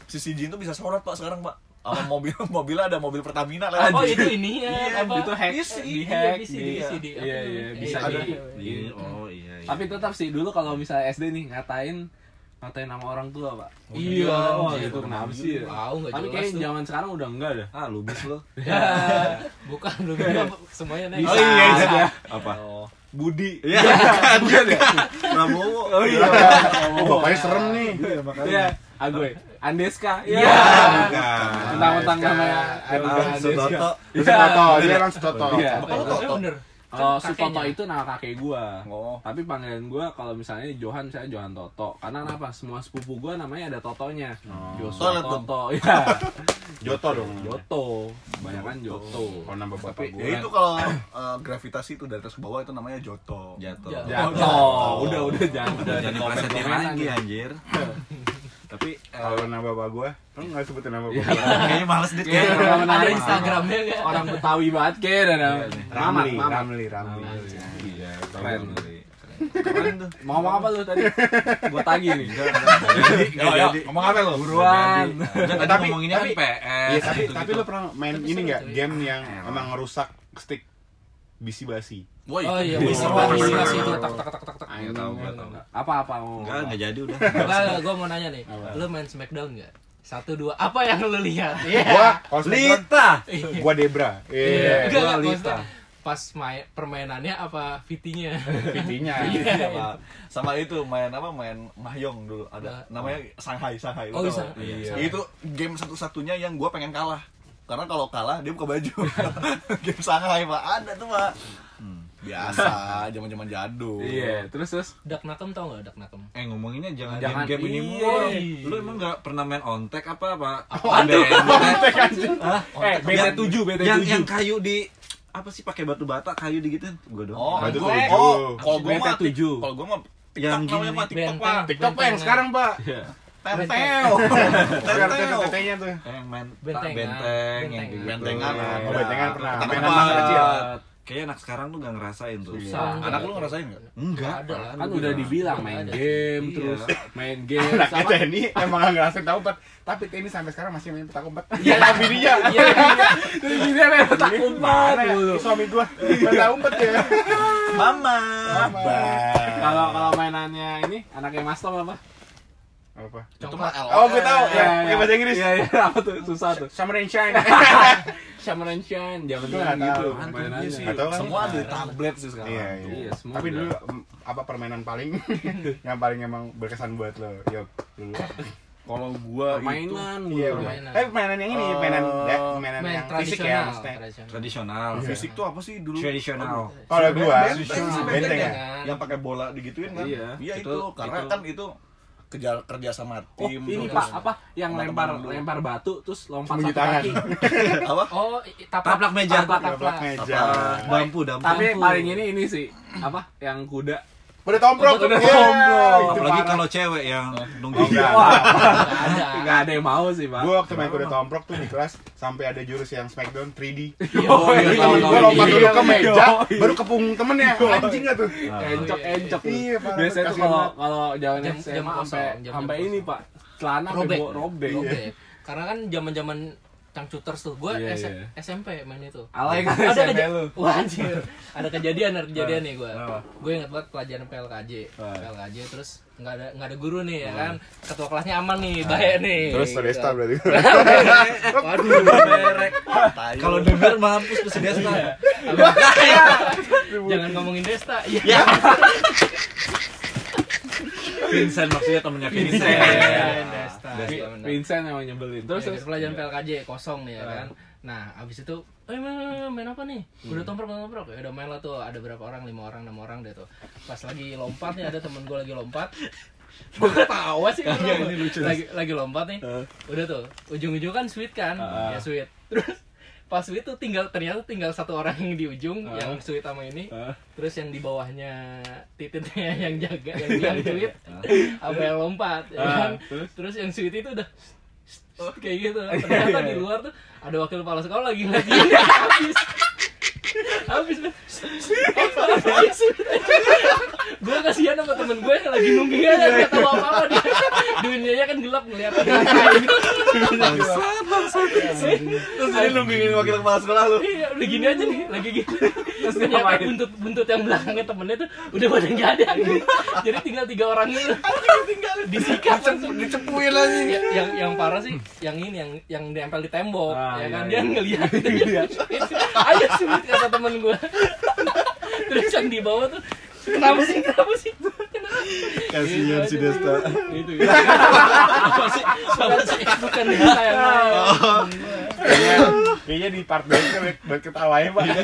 [SPEAKER 2] si CJ itu bisa sorot pak sekarang pak sama mobil mobilnya ada mobil Pertamina lewat
[SPEAKER 4] Oh itu ini ya
[SPEAKER 2] Iya,
[SPEAKER 4] apa?
[SPEAKER 3] itu hack
[SPEAKER 2] Iya,
[SPEAKER 3] di
[SPEAKER 4] iya,
[SPEAKER 3] hack
[SPEAKER 4] bisa
[SPEAKER 3] di-
[SPEAKER 4] di- bisa di- apa
[SPEAKER 3] iya iya
[SPEAKER 4] namanya?
[SPEAKER 3] bisa
[SPEAKER 2] Iya,
[SPEAKER 3] di
[SPEAKER 4] iya,
[SPEAKER 5] Iya, Oh iya. iya.
[SPEAKER 3] tapi tetap sih dulu kalau misalnya SD nih ngatain ngatain nama orang tua pak
[SPEAKER 4] Iya,
[SPEAKER 3] oh,
[SPEAKER 4] anjir.
[SPEAKER 3] itu kenapa sih ya?
[SPEAKER 4] Wow, nggak
[SPEAKER 3] tapi
[SPEAKER 4] jelas
[SPEAKER 3] kayaknya
[SPEAKER 4] tuh.
[SPEAKER 3] zaman sekarang udah enggak deh ah lu bis lo
[SPEAKER 4] Ya, bukan lu bilang semuanya naik.
[SPEAKER 3] Bisa. Oh, iya, iya. Oh.
[SPEAKER 5] Apa?
[SPEAKER 1] Budi.
[SPEAKER 5] Iya, kan kan ya. Prabowo. Oh iya.
[SPEAKER 1] Oh, bapaknya serem nih.
[SPEAKER 3] iya Agoy Andeska iya
[SPEAKER 1] Tentang-tentang
[SPEAKER 3] mentang-mentang
[SPEAKER 5] Kan,
[SPEAKER 3] namanya
[SPEAKER 5] Iya, Sutoto.
[SPEAKER 1] Sutoto, dia orang Sutoto.
[SPEAKER 3] Iya.
[SPEAKER 4] Apa
[SPEAKER 2] Apa lu
[SPEAKER 4] lu
[SPEAKER 2] tau?
[SPEAKER 4] bener?
[SPEAKER 3] kalau
[SPEAKER 4] Kan
[SPEAKER 3] Sutoto
[SPEAKER 4] kakeknya.
[SPEAKER 3] itu nama kakek gua
[SPEAKER 2] Oh.
[SPEAKER 3] tapi panggilan gua kalau misalnya Johan misalnya Johan Toto karena kenapa semua sepupu gua namanya ada Totonya Joshua
[SPEAKER 2] Toilet dong.
[SPEAKER 3] Toto iya
[SPEAKER 1] Joto dong.
[SPEAKER 3] Joto kebanyakan Joto
[SPEAKER 1] Kalau nama bapak
[SPEAKER 3] Tapi-
[SPEAKER 1] gue.
[SPEAKER 2] Ya itu kalau eh, gravitasi itu dari atas ke bawah itu namanya Oh, iya. joto.
[SPEAKER 5] Jatuh.
[SPEAKER 4] Ya.
[SPEAKER 3] Joto udah udah jangan
[SPEAKER 5] Udah jadi presetin lagi
[SPEAKER 3] aja
[SPEAKER 5] anjir. Tapi
[SPEAKER 1] Kalau nama bapak gue, lu nggak sebutin nama
[SPEAKER 3] Iya.
[SPEAKER 1] bapak. gua.
[SPEAKER 5] kayaknya males deh.
[SPEAKER 3] Iya,
[SPEAKER 5] kayaknya.
[SPEAKER 3] orang
[SPEAKER 4] Ada
[SPEAKER 3] Betawi.
[SPEAKER 4] Instagramnya nggak?
[SPEAKER 3] orang Betawi banget kayak ada
[SPEAKER 1] Ramli, Ramli, Ramli.
[SPEAKER 5] Iya,
[SPEAKER 3] Keren.
[SPEAKER 5] Keren.
[SPEAKER 2] Keren tuh.
[SPEAKER 3] Mau ngomong apa lu tadi? Gua tagih nih.
[SPEAKER 5] Oh, ya, ngomong apa lo?
[SPEAKER 3] Buruan.
[SPEAKER 5] Enggak tadi
[SPEAKER 1] Tapi-
[SPEAKER 5] ngomonginnya kan
[SPEAKER 1] tapi-
[SPEAKER 5] PS.
[SPEAKER 1] Iya, tapi
[SPEAKER 5] gitu-gitu.
[SPEAKER 1] tapi lu pernah main ini nggak
[SPEAKER 4] seru, cuy.
[SPEAKER 1] game yang emang ngerusak stick bisi basi?
[SPEAKER 2] Woi.
[SPEAKER 4] Oh
[SPEAKER 1] Iya.
[SPEAKER 4] iya, bisa banget sih masih itu tak tak tak tak tak.
[SPEAKER 5] Enggak tahu, enggak tahu.
[SPEAKER 3] Apa-apa mau.
[SPEAKER 5] Enggak, enggak jadi udah.
[SPEAKER 4] Enggak, Hmm. gua mau nanya nih. Lu main Smackdown enggak? Satu dua apa yang lu lihat?
[SPEAKER 1] Gua, kalau Smackdown,
[SPEAKER 5] Lita.
[SPEAKER 4] Iya.
[SPEAKER 1] gua Debra. Iya,
[SPEAKER 4] Enggak,
[SPEAKER 3] gua
[SPEAKER 4] enggak,
[SPEAKER 3] Lita.
[SPEAKER 4] maksudnya pas main permainannya apa VT-nya?
[SPEAKER 1] VT-nya.
[SPEAKER 3] Iya.
[SPEAKER 2] Sama, Iya, sama itu main apa main mahjong dulu ada namanya Shanghai Shanghai lu
[SPEAKER 4] Oh,
[SPEAKER 2] tau
[SPEAKER 4] Sang-
[SPEAKER 2] gak?
[SPEAKER 4] iya.
[SPEAKER 2] itu game satu-satunya yang gua pengen kalah karena kalau kalah dia buka baju game Shanghai pak ada tuh pak biasa zaman zaman jadul
[SPEAKER 3] Iya, terus terus
[SPEAKER 4] Dak Nakem tau enggak Dak Nakem?
[SPEAKER 5] Eh ngomonginnya jangan,
[SPEAKER 3] Jangan,
[SPEAKER 5] game-game ini
[SPEAKER 3] iya.
[SPEAKER 5] mulu. Lu emang gak pernah main ontek apa apa?
[SPEAKER 4] Apaan tuh?
[SPEAKER 3] eh BT7 BT7.
[SPEAKER 5] Yang yang kayu di apa sih pakai batu bata kayu digituin? Gua doang.
[SPEAKER 2] oh
[SPEAKER 1] Batu
[SPEAKER 2] gua
[SPEAKER 1] tujuh.
[SPEAKER 2] oh kalau gua mah
[SPEAKER 3] BT7.
[SPEAKER 2] kalau gua mah
[SPEAKER 5] Yang
[SPEAKER 2] yang namanya
[SPEAKER 5] gini.
[SPEAKER 2] mah TikTok
[SPEAKER 4] Benteng.
[SPEAKER 2] pak
[SPEAKER 1] TikTok Pak, yang sekarang pak.
[SPEAKER 3] Iya.
[SPEAKER 2] Tenteo Tenteo
[SPEAKER 1] Tetenya tuh.
[SPEAKER 5] Eh, yang main ta-
[SPEAKER 3] ah,
[SPEAKER 4] Bentengan.
[SPEAKER 5] benteng, yang
[SPEAKER 4] Bentengan.
[SPEAKER 5] gitu.
[SPEAKER 2] Bentengan.
[SPEAKER 1] Oh, bentengan pernah.
[SPEAKER 2] Ketangkep
[SPEAKER 1] Mainan
[SPEAKER 2] banget.
[SPEAKER 1] masa kecil.
[SPEAKER 3] Eh,
[SPEAKER 5] Kayaknya anak sekarang tuh gak ngerasain tuh.
[SPEAKER 3] Susah.
[SPEAKER 4] Sang-
[SPEAKER 2] Anak lu ngerasain nggak?
[SPEAKER 5] Enggak.
[SPEAKER 4] Ada.
[SPEAKER 5] apaan
[SPEAKER 3] Kan
[SPEAKER 5] gua
[SPEAKER 3] udah dibilang main
[SPEAKER 4] Ada.
[SPEAKER 3] game
[SPEAKER 5] Iya.
[SPEAKER 3] terus main game
[SPEAKER 1] Anaknya
[SPEAKER 3] sama
[SPEAKER 1] TNI Nah, emang nggak ngerasain tahu empat, tapi TNI sampai sekarang masih main petak umpet.
[SPEAKER 4] Iya, tapi dia. Iya,
[SPEAKER 3] Terus dia main petak umpet
[SPEAKER 1] Mana ya?
[SPEAKER 3] mulu.
[SPEAKER 1] Suami gua petak umpet ya.
[SPEAKER 2] Mama.
[SPEAKER 3] Kalau kalau mainannya ini anaknya Mas Tom apa?
[SPEAKER 1] apa?
[SPEAKER 2] Itu mah LOL.
[SPEAKER 1] Oh, gue tahu. Ya, pakai bahasa Inggris. Iya,
[SPEAKER 3] Iya, iya, apa tuh? Susah tuh.
[SPEAKER 1] Summer and Shine.
[SPEAKER 3] Summer and Shine, jangan
[SPEAKER 1] Gua nggak
[SPEAKER 3] jangan gitu.
[SPEAKER 1] tahu.
[SPEAKER 3] mainannya.
[SPEAKER 1] Iya sih. Atau kan-
[SPEAKER 2] semua ada di tablet sih sekarang.
[SPEAKER 1] Iya,
[SPEAKER 3] Iya,
[SPEAKER 1] iya.
[SPEAKER 3] semua
[SPEAKER 1] Tapi
[SPEAKER 3] udah.
[SPEAKER 1] dulu em, apa permainan paling yang paling emang berkesan buat lo? Yuk, dulu.
[SPEAKER 2] Kalau gua itu
[SPEAKER 1] Iya,
[SPEAKER 3] Permainan
[SPEAKER 1] permainan.
[SPEAKER 3] mulu.
[SPEAKER 4] permainan.
[SPEAKER 1] Tapi permainan yang ini, mainan ya, mainan
[SPEAKER 4] Main
[SPEAKER 1] yang fisik ya,
[SPEAKER 4] tradisional.
[SPEAKER 1] maksudnya.
[SPEAKER 4] tradisional.
[SPEAKER 1] Iya.
[SPEAKER 5] Tradisional.
[SPEAKER 2] fisik tuh apa sih dulu?
[SPEAKER 5] Tradisional.
[SPEAKER 1] Kalau gua,
[SPEAKER 2] Benteng sih,
[SPEAKER 1] benteng ya.
[SPEAKER 2] Yang pakai bola digituin kan?
[SPEAKER 3] Iya.
[SPEAKER 2] Iya itu,
[SPEAKER 3] Itu-
[SPEAKER 2] karena
[SPEAKER 3] itu-
[SPEAKER 2] kan itu kerja kerja sama tim
[SPEAKER 3] Oh, ini
[SPEAKER 2] terus-
[SPEAKER 3] Pak, apa yang
[SPEAKER 2] Teman-teman
[SPEAKER 3] lempar
[SPEAKER 2] dulu.
[SPEAKER 3] lempar batu terus lompat
[SPEAKER 1] Sembunyi
[SPEAKER 3] satu
[SPEAKER 1] tangan.
[SPEAKER 3] kaki.
[SPEAKER 2] apa
[SPEAKER 4] Oh, i-
[SPEAKER 5] Taplak meja.
[SPEAKER 4] Taplak,
[SPEAKER 1] Taplak
[SPEAKER 4] taplak.
[SPEAKER 1] meja.
[SPEAKER 5] Apa? Dampu, Ah, dampu.
[SPEAKER 3] Tapi yang paling ini ini sih apa yang kuda.
[SPEAKER 1] Udah tomprok.
[SPEAKER 3] Udah
[SPEAKER 1] Yeah,
[SPEAKER 3] tomprok.
[SPEAKER 1] Iya, itu
[SPEAKER 5] Apalagi
[SPEAKER 1] parah.
[SPEAKER 5] kalau cewek yang nungging.
[SPEAKER 1] Iya.
[SPEAKER 4] Nggak ada.
[SPEAKER 3] Enggak ada yang mau sih, Pak.
[SPEAKER 1] Gue waktu main kuda tomprok tuh di kelas sampai ada jurus yang Smackdown 3D.
[SPEAKER 3] Oh, iya, tahu, tahu.
[SPEAKER 1] Gue lompat dulu ke
[SPEAKER 3] Iya,
[SPEAKER 1] meja,
[SPEAKER 3] iya.
[SPEAKER 1] baru ke punggung temennya. Anjing gak tuh?
[SPEAKER 3] encok encok
[SPEAKER 1] gitu. Iya, Pak.
[SPEAKER 3] biasanya tuh
[SPEAKER 1] Kasihan
[SPEAKER 3] kalau
[SPEAKER 1] banget.
[SPEAKER 3] kalau jalan
[SPEAKER 4] Jam-
[SPEAKER 3] SMA
[SPEAKER 4] jam kosong,
[SPEAKER 3] sampai
[SPEAKER 4] jam-
[SPEAKER 3] sampai
[SPEAKER 4] jam
[SPEAKER 3] ini
[SPEAKER 4] kosong.
[SPEAKER 3] pak celana
[SPEAKER 4] Robek.
[SPEAKER 3] robek robek
[SPEAKER 4] Robek. Karena kan zaman-zaman cangcuters tuh. Gue
[SPEAKER 3] Iya,
[SPEAKER 4] S-
[SPEAKER 3] iya.
[SPEAKER 4] SMP main itu.
[SPEAKER 3] alay kan
[SPEAKER 4] Ada
[SPEAKER 3] SMP
[SPEAKER 4] keja-
[SPEAKER 3] lu
[SPEAKER 4] Wah, anjir. Ada kejadian, ada kejadian nih gue.
[SPEAKER 3] Apa?
[SPEAKER 4] Gue inget banget pelajaran PLKJ.
[SPEAKER 3] Ah.
[SPEAKER 4] PLKJ terus nggak ada nggak ada guru nih ya kan. Ketua kelasnya aman nih, baik nih.
[SPEAKER 3] Iya,
[SPEAKER 1] Terus
[SPEAKER 4] Gitu.
[SPEAKER 1] Tony Star berarti.
[SPEAKER 4] Waduh, merek.
[SPEAKER 1] iya.
[SPEAKER 5] Kalau denger mampus ke sedia
[SPEAKER 4] Jangan ngomongin Desta. Iya.
[SPEAKER 5] Vincent maksudnya temennya Vincent.
[SPEAKER 4] Iya, Desta. Iya,
[SPEAKER 3] Vi-
[SPEAKER 4] Benar.
[SPEAKER 3] Vincent emang nyebelin terus
[SPEAKER 4] Ya,
[SPEAKER 3] terus
[SPEAKER 4] dari pelajaran PLKJ kosong nih ya kan. Nah, abis itu, eh main, main, main apa nih? Udah tomprok, udah tomprok. Ya udah main lah tuh. Ada berapa orang? Lima orang, enam orang deh tuh. Pas lagi lompat nih ada temen gue lagi lompat. Gue ketawa sih kenapa? Lagi, lagi lompat nih. Udah tuh. Ujung-ujung kan sweet kan?
[SPEAKER 3] Ah.
[SPEAKER 4] Ya sweet. Terus pas sweet tuh tinggal ternyata tinggal satu orang yang di ujung yang sweet sama ini.
[SPEAKER 3] Ah.
[SPEAKER 4] Terus yang di bawahnya titiknya yang jaga yang yang sweet apa yang lompat ya
[SPEAKER 3] Ah,
[SPEAKER 4] kan?
[SPEAKER 3] terus?
[SPEAKER 4] iya. Terus yang sweet itu udah kayak gitu ternyata di luar tuh ada wakil kepala sekolah lagi lagi habis habis gue kasihan sama temen gue yang lagi nungging aja nggak tahu apa apa dia dunianya kan gelap ngeliat
[SPEAKER 5] Terus dia nunggingin wakil kepala sekolah lu.
[SPEAKER 4] iya udah gini aja nih lagi gini terus ternyata buntut buntut yang belakangnya temennya tuh udah pada nggak ada jadi tinggal tiga orang itu tinggal disikat langsung
[SPEAKER 2] dicepuin lagi
[SPEAKER 4] Ya, yang yang parah sih yang ini yang yang nempel di tembok
[SPEAKER 3] Ah, iya,
[SPEAKER 4] ya kan
[SPEAKER 3] iya.
[SPEAKER 4] dia ngelihat
[SPEAKER 1] Iya.
[SPEAKER 4] ayo sulit kata temen gue terus yang di bawah tuh kenapa sih kenapa sih kenapa
[SPEAKER 2] gitu.
[SPEAKER 1] Kasihan si Desta.
[SPEAKER 3] iya.
[SPEAKER 4] itu ya Apa sih? Bukan- bukan kita yang main
[SPEAKER 1] Kayaknya di part 2 buat ketawanya pak.
[SPEAKER 3] nggak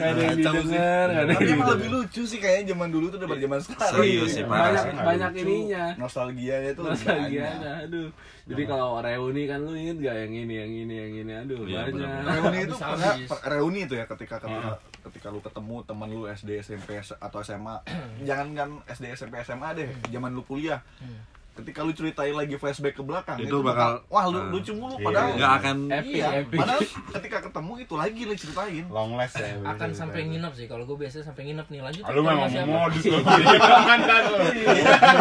[SPEAKER 3] ada yang didengar nggak ada yang
[SPEAKER 2] tapi emang
[SPEAKER 3] didengar.
[SPEAKER 2] lebih lucu sih kayaknya zaman dulu tuh daripada zaman sekarang
[SPEAKER 5] Serius sih, Pak.
[SPEAKER 3] banyak
[SPEAKER 5] Parah sih,
[SPEAKER 3] banyak
[SPEAKER 2] Lucu.
[SPEAKER 3] ininya
[SPEAKER 2] nostalgianya tuh lebih
[SPEAKER 3] nostalgia
[SPEAKER 2] banyak.
[SPEAKER 3] ada, aduh jadi kalau reuni kan lu inget gak yang ini yang ini yang ini aduh
[SPEAKER 5] Iya,
[SPEAKER 3] banyak
[SPEAKER 5] bener-bener.
[SPEAKER 2] reuni itu
[SPEAKER 4] Habis-habis. Iya.
[SPEAKER 2] karena per- reuni itu ya ketika ketika ketika lu ketemu teman lu SD SMP S- atau SMA jangan kan SD SMP SMA deh
[SPEAKER 4] Hmm.
[SPEAKER 2] zaman lu kuliah
[SPEAKER 4] Iya.
[SPEAKER 2] ketika lu ceritain lagi flashback ke belakang
[SPEAKER 5] Itu bakal-
[SPEAKER 2] wah lu
[SPEAKER 5] Ah.
[SPEAKER 2] lucu mulu
[SPEAKER 1] Iya.
[SPEAKER 2] padahal
[SPEAKER 5] Enggak akan
[SPEAKER 3] Epic,
[SPEAKER 2] iya,
[SPEAKER 3] epic.
[SPEAKER 2] padahal ketika ketemu itu lagi lu ceritain
[SPEAKER 1] Long last ya.
[SPEAKER 4] akan sampai nginep sih kalau gue biasanya sampai nginep nih lanjut
[SPEAKER 1] Ah, Lu
[SPEAKER 4] sama
[SPEAKER 1] memang
[SPEAKER 4] siapa? Iya.
[SPEAKER 1] modus lu. Mantan lu.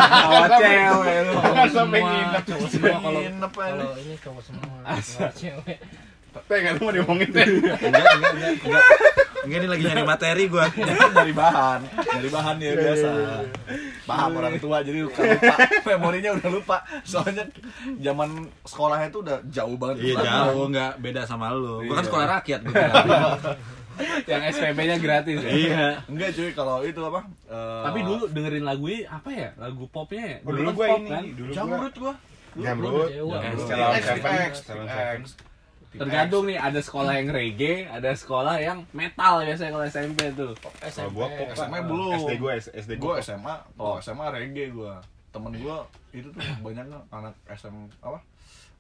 [SPEAKER 3] Tawa cewek lu
[SPEAKER 4] Cowok
[SPEAKER 1] Akan sampai
[SPEAKER 4] semua,
[SPEAKER 1] nginep.
[SPEAKER 4] cowok semua kalau
[SPEAKER 2] Nginep, anjing.
[SPEAKER 4] kalau ini cowok semua cowok cewek
[SPEAKER 1] Tega lu mau diomongin deh.
[SPEAKER 5] enggak enggak enggak. enggak. Enggak ini lagi nyari materi gua.
[SPEAKER 2] dari bahan dari bahan
[SPEAKER 4] Iya,
[SPEAKER 2] ya biasa paham orang tua jadi lupa, lupa memorinya udah lupa soalnya zaman sekolahnya tuh udah jauh banget
[SPEAKER 5] Iya jauh enggak beda sama lu. Gua kan
[SPEAKER 2] Iya.
[SPEAKER 5] sekolah rakyat gua.
[SPEAKER 3] yang SPP-nya gratis ya?
[SPEAKER 5] Iya.
[SPEAKER 2] enggak cuy kalau itu apa eh,
[SPEAKER 3] tapi dulu dengerin lagunya apa ya lagu popnya ya
[SPEAKER 1] Oh, dulu
[SPEAKER 3] kan
[SPEAKER 1] gue
[SPEAKER 3] pop
[SPEAKER 1] ini,
[SPEAKER 3] kan?
[SPEAKER 1] dulu gue
[SPEAKER 2] jamrut gua
[SPEAKER 1] jamrut,
[SPEAKER 4] Lu udah
[SPEAKER 1] jamrut,
[SPEAKER 5] dewa.
[SPEAKER 1] Celao
[SPEAKER 2] X,
[SPEAKER 1] Seven,
[SPEAKER 2] X,
[SPEAKER 1] Celao
[SPEAKER 2] X.
[SPEAKER 1] Seven.
[SPEAKER 3] Tergantung nih, ada sekolah yang reggae, ada sekolah yang metal biasanya kalau SMP tuh.
[SPEAKER 1] Kalau gua pop, Pak.
[SPEAKER 2] SMA belum.
[SPEAKER 1] SD gua, SD
[SPEAKER 2] gue
[SPEAKER 1] gua. pop.
[SPEAKER 2] SMA oh SMA reggae gua temen gua itu tuh banyak anak SM apa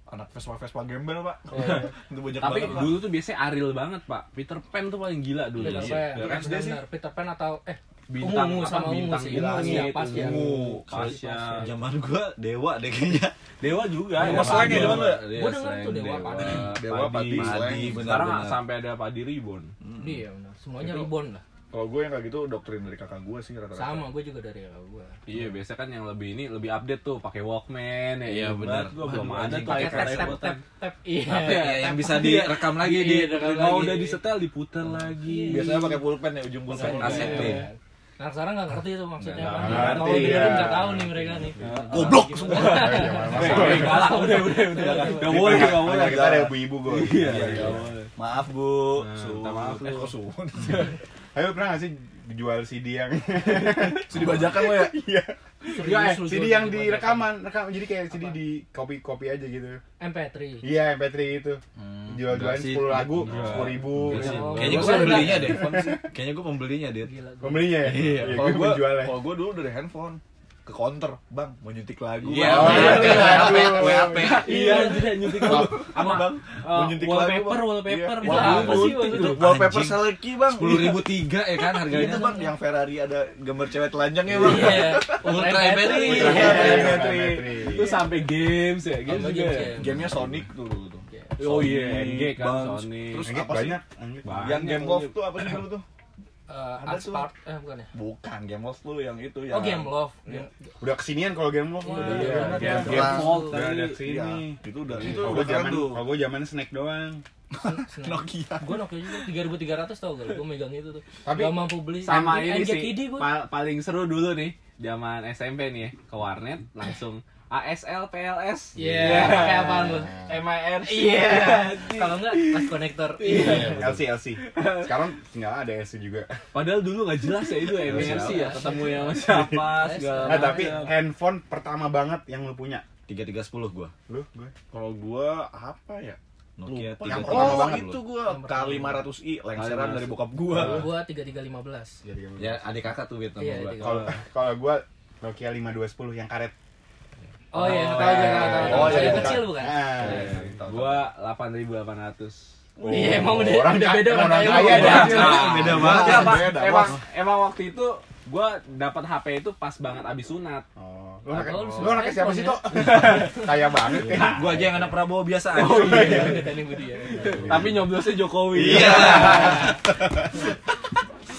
[SPEAKER 2] anak Vespa Vespa gembel pak itu banyak
[SPEAKER 3] Tapi
[SPEAKER 2] banget
[SPEAKER 3] dulu tuh biasanya Ariel banget, Pak. Peter Pan tuh paling gila dulu. Iya.
[SPEAKER 4] Peter Pan,
[SPEAKER 2] Iya,
[SPEAKER 4] benar,
[SPEAKER 2] SD sih.
[SPEAKER 4] benar. Peter Pan atau eh
[SPEAKER 3] Bintang
[SPEAKER 4] Ungu
[SPEAKER 3] apa,
[SPEAKER 4] sama Ungu
[SPEAKER 3] bintang
[SPEAKER 4] sih.
[SPEAKER 3] bilang
[SPEAKER 4] Ungu, ya,
[SPEAKER 3] gitu.
[SPEAKER 4] Pasya.
[SPEAKER 3] Ungu, ya.
[SPEAKER 5] Pasya.
[SPEAKER 3] Pasya.
[SPEAKER 5] ya. Zaman gua dewa deh kayaknya.
[SPEAKER 3] Dewa juga.
[SPEAKER 2] Dewa
[SPEAKER 3] ya, Pak.
[SPEAKER 2] slang ya,
[SPEAKER 3] Dewa.
[SPEAKER 2] zaman lu ya?
[SPEAKER 3] Iya,
[SPEAKER 4] Gua denger
[SPEAKER 3] slang,
[SPEAKER 4] tuh Dewa, Padi.
[SPEAKER 2] Dewa, Padi, slang.
[SPEAKER 5] benar
[SPEAKER 3] Iya. Sekarang
[SPEAKER 5] benar.
[SPEAKER 3] sampai ada Padi Ribbon.
[SPEAKER 4] Iya benar. Semuanya
[SPEAKER 2] Itu-
[SPEAKER 4] ribon lah.
[SPEAKER 2] kalau gue yang kayak gitu doktrin dari kakak gue sih rata-rata
[SPEAKER 4] Sama gue juga dari kakak gue.
[SPEAKER 3] Iya, biasanya kan yang lebih ini lebih update tuh, pakai Walkman ya.
[SPEAKER 5] Iya,
[SPEAKER 3] Ingat
[SPEAKER 5] benar.
[SPEAKER 3] banget, Gua belum
[SPEAKER 5] Waduh,
[SPEAKER 3] ada
[SPEAKER 5] anjing,
[SPEAKER 3] tuh
[SPEAKER 5] pakai
[SPEAKER 4] Tap
[SPEAKER 3] iPhone.
[SPEAKER 4] tap tap tap tap. Iya.
[SPEAKER 5] Iya, yang bisa direkam lagi di
[SPEAKER 4] Iya, direkam
[SPEAKER 5] di-
[SPEAKER 4] lagi.
[SPEAKER 3] Mau udah disetel diputer lagi.
[SPEAKER 2] Iya.
[SPEAKER 3] Iya.
[SPEAKER 2] biasanya pakai pulpen ya ujung pulpen
[SPEAKER 5] Asik
[SPEAKER 4] Iya.
[SPEAKER 5] tuh.
[SPEAKER 4] Anak sekarang nggak ngerti itu maksudnya
[SPEAKER 1] Nggak
[SPEAKER 4] apa.
[SPEAKER 1] ngerti,
[SPEAKER 4] Kalau dengerin
[SPEAKER 1] iya.
[SPEAKER 4] nggak tahu nih mereka nih.
[SPEAKER 5] Goblok
[SPEAKER 4] semua.
[SPEAKER 1] Eh, zaman masa.
[SPEAKER 3] Eh, galak, udah udah udah. Enggak boleh, enggak boleh.
[SPEAKER 1] Kita ada ibu-ibu gua.
[SPEAKER 3] Nggak boleh.
[SPEAKER 2] maaf bu
[SPEAKER 3] Nah,
[SPEAKER 2] Sun.
[SPEAKER 3] minta maaf,
[SPEAKER 2] eh
[SPEAKER 3] lu.
[SPEAKER 2] kok sun
[SPEAKER 1] Ayo pernah gak sih jual CD yang
[SPEAKER 2] sudah dibajakan lo ya
[SPEAKER 1] Iya.
[SPEAKER 4] Serius, lu
[SPEAKER 1] CD
[SPEAKER 4] jual
[SPEAKER 1] yang
[SPEAKER 4] CD
[SPEAKER 1] di
[SPEAKER 4] bajakan.
[SPEAKER 1] rekaman, rekam jadi kayak CD di copy-copy aja gitu.
[SPEAKER 4] MP3.
[SPEAKER 1] Iya, MP3 itu. Jual-jualan
[SPEAKER 5] Enggak sih.
[SPEAKER 1] 10 lagu, 10 ribu.
[SPEAKER 5] Enggak sih.
[SPEAKER 4] Oh.
[SPEAKER 5] Kayaknya
[SPEAKER 4] Gua
[SPEAKER 5] gua
[SPEAKER 4] ada
[SPEAKER 5] pembelinya
[SPEAKER 4] nggak?
[SPEAKER 5] deh. Kayaknya gua pembelinya deh.
[SPEAKER 4] Gila. gua-
[SPEAKER 1] Pembelinya ya?
[SPEAKER 5] Iya.
[SPEAKER 1] Iya,
[SPEAKER 2] kalau
[SPEAKER 1] gue
[SPEAKER 2] gue
[SPEAKER 1] penjualnya.
[SPEAKER 2] kalau gue dulu dari handphone ke counter bang mau nyuntik lagu
[SPEAKER 5] Iya,
[SPEAKER 1] Oh,
[SPEAKER 2] Bang."
[SPEAKER 5] WAP, WAP, WAP.
[SPEAKER 3] Iya, anjir nyuntik
[SPEAKER 2] Bang,
[SPEAKER 3] lagu. Sama
[SPEAKER 2] Bang,
[SPEAKER 3] eh,
[SPEAKER 2] mau nyuntik lagu
[SPEAKER 3] wallpaper,
[SPEAKER 2] bang
[SPEAKER 3] wallpaper
[SPEAKER 2] Iya,
[SPEAKER 3] gitu.
[SPEAKER 2] wallpaper.
[SPEAKER 3] Apa sih maksudnya?
[SPEAKER 2] wallpaper
[SPEAKER 5] Anjing.
[SPEAKER 2] seleki bang
[SPEAKER 5] Sepuluh ribu tiga ya kan
[SPEAKER 3] Iya.
[SPEAKER 5] harganya?
[SPEAKER 2] itu bang yang Ferrari ada gambar cewek telanjangnya bang
[SPEAKER 4] Iya.
[SPEAKER 5] Ultra Battery.
[SPEAKER 2] Ultra
[SPEAKER 1] Iya.
[SPEAKER 2] Battery.
[SPEAKER 3] Itu sampai games ya, games
[SPEAKER 4] Sama
[SPEAKER 3] juga.
[SPEAKER 4] games,
[SPEAKER 3] ya.
[SPEAKER 4] iya.
[SPEAKER 2] gamenya Sonic tuh tuh
[SPEAKER 3] Oh iya,
[SPEAKER 2] Sony,
[SPEAKER 3] NG kan
[SPEAKER 2] Bang.
[SPEAKER 3] Sony.
[SPEAKER 2] Terus
[SPEAKER 1] Anggit
[SPEAKER 2] apa sih?
[SPEAKER 1] banyak, anggit banyak.
[SPEAKER 2] yang game
[SPEAKER 3] Banyak.
[SPEAKER 2] golf tuh apa sih dulu tuh
[SPEAKER 4] Eh,
[SPEAKER 2] Ada
[SPEAKER 4] Art
[SPEAKER 2] tuh.
[SPEAKER 4] Spark, eh bukan ya?
[SPEAKER 2] bukan game golf tuh yang itu ya
[SPEAKER 4] Oh Game Love.
[SPEAKER 2] Iya.
[SPEAKER 1] Udah kesinian kalau game lo. Udah-
[SPEAKER 4] Iya,
[SPEAKER 3] Iya,
[SPEAKER 1] udah-
[SPEAKER 3] game
[SPEAKER 1] udah-
[SPEAKER 3] game
[SPEAKER 2] Langsung.
[SPEAKER 3] vault
[SPEAKER 1] Udah ada
[SPEAKER 3] tadi.
[SPEAKER 2] Iya,
[SPEAKER 1] sini.
[SPEAKER 2] itu udah itu
[SPEAKER 1] Kalau
[SPEAKER 2] udah
[SPEAKER 1] gue
[SPEAKER 2] keren
[SPEAKER 1] zaman,
[SPEAKER 2] tuh
[SPEAKER 1] kalau gue zaman snack doang.
[SPEAKER 2] Nokia
[SPEAKER 4] Gue Nokia juga 3300 tau gak? Gue megang itu tuh.
[SPEAKER 1] Tapi
[SPEAKER 4] gak mampu beli.
[SPEAKER 3] sama ini sih
[SPEAKER 4] NG ID gue.
[SPEAKER 3] pa- paling seru dulu nih zaman SMP nih ya, ke warnet langsung ASL PLS
[SPEAKER 4] Iya, pakai apaan lu? MIR. Iya. Kalau enggak tas konektor. Iya.
[SPEAKER 1] LC LC. Sekarang tinggal ada LC juga.
[SPEAKER 3] padahal dulu nggak jelas ya itu MRC ya ketemu yang sama siapa segala
[SPEAKER 1] Nah, tapi
[SPEAKER 3] macam.
[SPEAKER 1] handphone pertama banget yang lu punya.
[SPEAKER 5] Tiga tiga sepuluh gua.
[SPEAKER 1] Lu gue.
[SPEAKER 2] kalau gua apa ya Lupa.
[SPEAKER 5] Nokia tiga
[SPEAKER 2] yang
[SPEAKER 5] tiga
[SPEAKER 1] pertama
[SPEAKER 2] oh
[SPEAKER 5] sepuluh.
[SPEAKER 2] itu gua
[SPEAKER 4] Yang
[SPEAKER 2] k
[SPEAKER 4] pertama.
[SPEAKER 2] 500 i lengseran dari bokap gua
[SPEAKER 4] Gua 3315.
[SPEAKER 1] Jadi kamu-
[SPEAKER 5] Ya adik kakak tuh Wit sama
[SPEAKER 4] Iya,
[SPEAKER 5] gua.
[SPEAKER 4] adik
[SPEAKER 1] Kalau kalau gue Nokia 5210 yang karet.
[SPEAKER 4] Oh iya,
[SPEAKER 5] Oh, iya,
[SPEAKER 4] tahu tahu tahu.
[SPEAKER 2] oh,
[SPEAKER 4] Oh,
[SPEAKER 2] iya,
[SPEAKER 4] iya,
[SPEAKER 2] bukan.
[SPEAKER 4] kecil bukan?
[SPEAKER 1] Ah.
[SPEAKER 2] Nah,
[SPEAKER 3] gua 8800
[SPEAKER 4] Iya, emang udah
[SPEAKER 1] Orang
[SPEAKER 4] udah
[SPEAKER 1] kaya-
[SPEAKER 4] beda Nah.
[SPEAKER 1] orang
[SPEAKER 4] matanya.
[SPEAKER 1] kaya Nah.
[SPEAKER 4] Beda.
[SPEAKER 1] dah.
[SPEAKER 5] Beda
[SPEAKER 3] Emang-
[SPEAKER 2] banget. ya,
[SPEAKER 3] emang,
[SPEAKER 2] Nah, Beda,
[SPEAKER 3] emang, emang waktu itu gue dapat HP itu pas banget abis sunat.
[SPEAKER 1] Oh, lu anak
[SPEAKER 4] Atau lu
[SPEAKER 1] lu anak
[SPEAKER 4] suka
[SPEAKER 1] siapa
[SPEAKER 4] iPhone,
[SPEAKER 1] sih
[SPEAKER 4] ya?
[SPEAKER 1] tuh? Kaya banget ya.
[SPEAKER 5] Gua aja yang anak Prabowo biasa aja.
[SPEAKER 4] Beda Tani Budi ya.
[SPEAKER 3] Tapi nyoblosnya Jokowi.
[SPEAKER 5] Iya.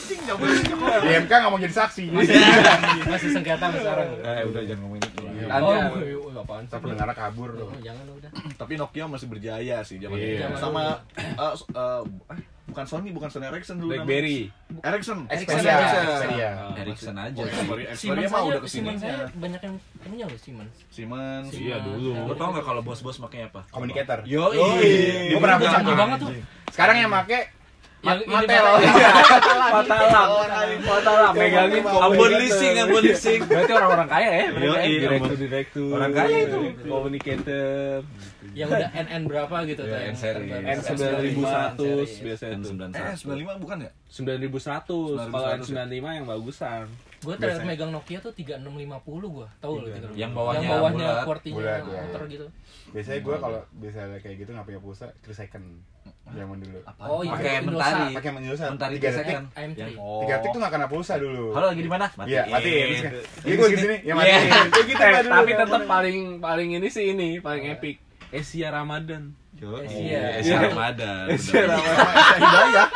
[SPEAKER 1] DMK nggak mau jadi saksi.
[SPEAKER 4] Masih sengketa sama sekarang.
[SPEAKER 2] eh udah jangan ngomongin itu
[SPEAKER 3] Anda-
[SPEAKER 4] Oh, woi, woi, apaan sih?
[SPEAKER 1] Kita pendengar kabur
[SPEAKER 4] Oh,
[SPEAKER 1] tuh.
[SPEAKER 4] Jangan udah.
[SPEAKER 2] tapi Nokia masih berjaya sih zaman
[SPEAKER 1] Iya.
[SPEAKER 2] itu sama eh, s- eh, eh, bukan Sony bukan Sony Ericsson dulu namanya.
[SPEAKER 3] Blackberry. Eh,
[SPEAKER 2] Ericsson
[SPEAKER 4] Ericsson,
[SPEAKER 1] Xperia,
[SPEAKER 4] Ericsson.
[SPEAKER 1] Xperia.
[SPEAKER 5] Ericsson aja.
[SPEAKER 2] Oh, Xperia Xperia
[SPEAKER 4] Siemens
[SPEAKER 2] mah
[SPEAKER 4] saya,
[SPEAKER 2] udah kesini
[SPEAKER 4] Siemens saya banyak yang punya loh Siemens.
[SPEAKER 2] Siemens
[SPEAKER 3] Iya, dulu.
[SPEAKER 5] Lu tau nggak kalau bos-bos makanya apa?
[SPEAKER 1] Communicator.
[SPEAKER 5] Yo,
[SPEAKER 1] Gua pernah
[SPEAKER 4] Itu
[SPEAKER 1] punya.
[SPEAKER 4] canggih banget tuh.
[SPEAKER 1] Sekarang yang make Iya.
[SPEAKER 4] Yang ini
[SPEAKER 1] Mattel.
[SPEAKER 3] Patalam. Patalam. Megangin Iya.
[SPEAKER 5] Ambon leasing, ambon leasing.
[SPEAKER 3] Berarti orang-orang kaya ya?
[SPEAKER 5] Yo, iya,
[SPEAKER 3] direktur
[SPEAKER 5] Ambon.
[SPEAKER 3] direktur.
[SPEAKER 5] Orang kaya itu.
[SPEAKER 3] Communicator.
[SPEAKER 4] yang udah NN berapa gitu
[SPEAKER 5] Iya,
[SPEAKER 4] tuh. yang
[SPEAKER 5] N seri.
[SPEAKER 4] terbaru.
[SPEAKER 3] N sembilan ribu seratus biasanya
[SPEAKER 5] Dan
[SPEAKER 3] tuh.
[SPEAKER 5] 91.
[SPEAKER 2] 95 bukan ya?
[SPEAKER 3] Sembilan ribu seratus. Kalau N sembilan lima yang bagusan.
[SPEAKER 4] Gue terakhir megang Nokia tuh 3650 gua. Tahu loh 3650.
[SPEAKER 5] Yang bawahnya
[SPEAKER 4] yang bawahnya
[SPEAKER 5] bulat.
[SPEAKER 4] QWERTY-nya
[SPEAKER 1] Bulat, ya.
[SPEAKER 4] muter gitu.
[SPEAKER 1] Biasanya gue kalau biasanya kayak gitu nggak punya pulsa, three second zaman dulu.
[SPEAKER 4] Oh iya,
[SPEAKER 5] Pakai
[SPEAKER 4] Indosat.
[SPEAKER 5] mentari.
[SPEAKER 1] Pakai menyusah.
[SPEAKER 5] Mentari
[SPEAKER 1] tiga
[SPEAKER 5] biasanya
[SPEAKER 1] detik.
[SPEAKER 5] kan.
[SPEAKER 4] AM3.
[SPEAKER 5] Yang-
[SPEAKER 1] Tiga detik tuh nggak kena pulsa dulu.
[SPEAKER 5] Halo lagi di mana?
[SPEAKER 1] Iya, matiin. Terus kayak, Ini gue gini, ya
[SPEAKER 5] Iya.
[SPEAKER 1] matiin. Kayak gitu
[SPEAKER 3] Eh,
[SPEAKER 1] kan dulu.
[SPEAKER 3] tapi tetap paling paling ini sih ini paling epic. Asia Ramadan.
[SPEAKER 4] Iya.
[SPEAKER 5] Iya, Esi Ramadan.
[SPEAKER 3] Asia
[SPEAKER 5] bener.
[SPEAKER 3] Ramadan.
[SPEAKER 2] Sama Esa Hidayah.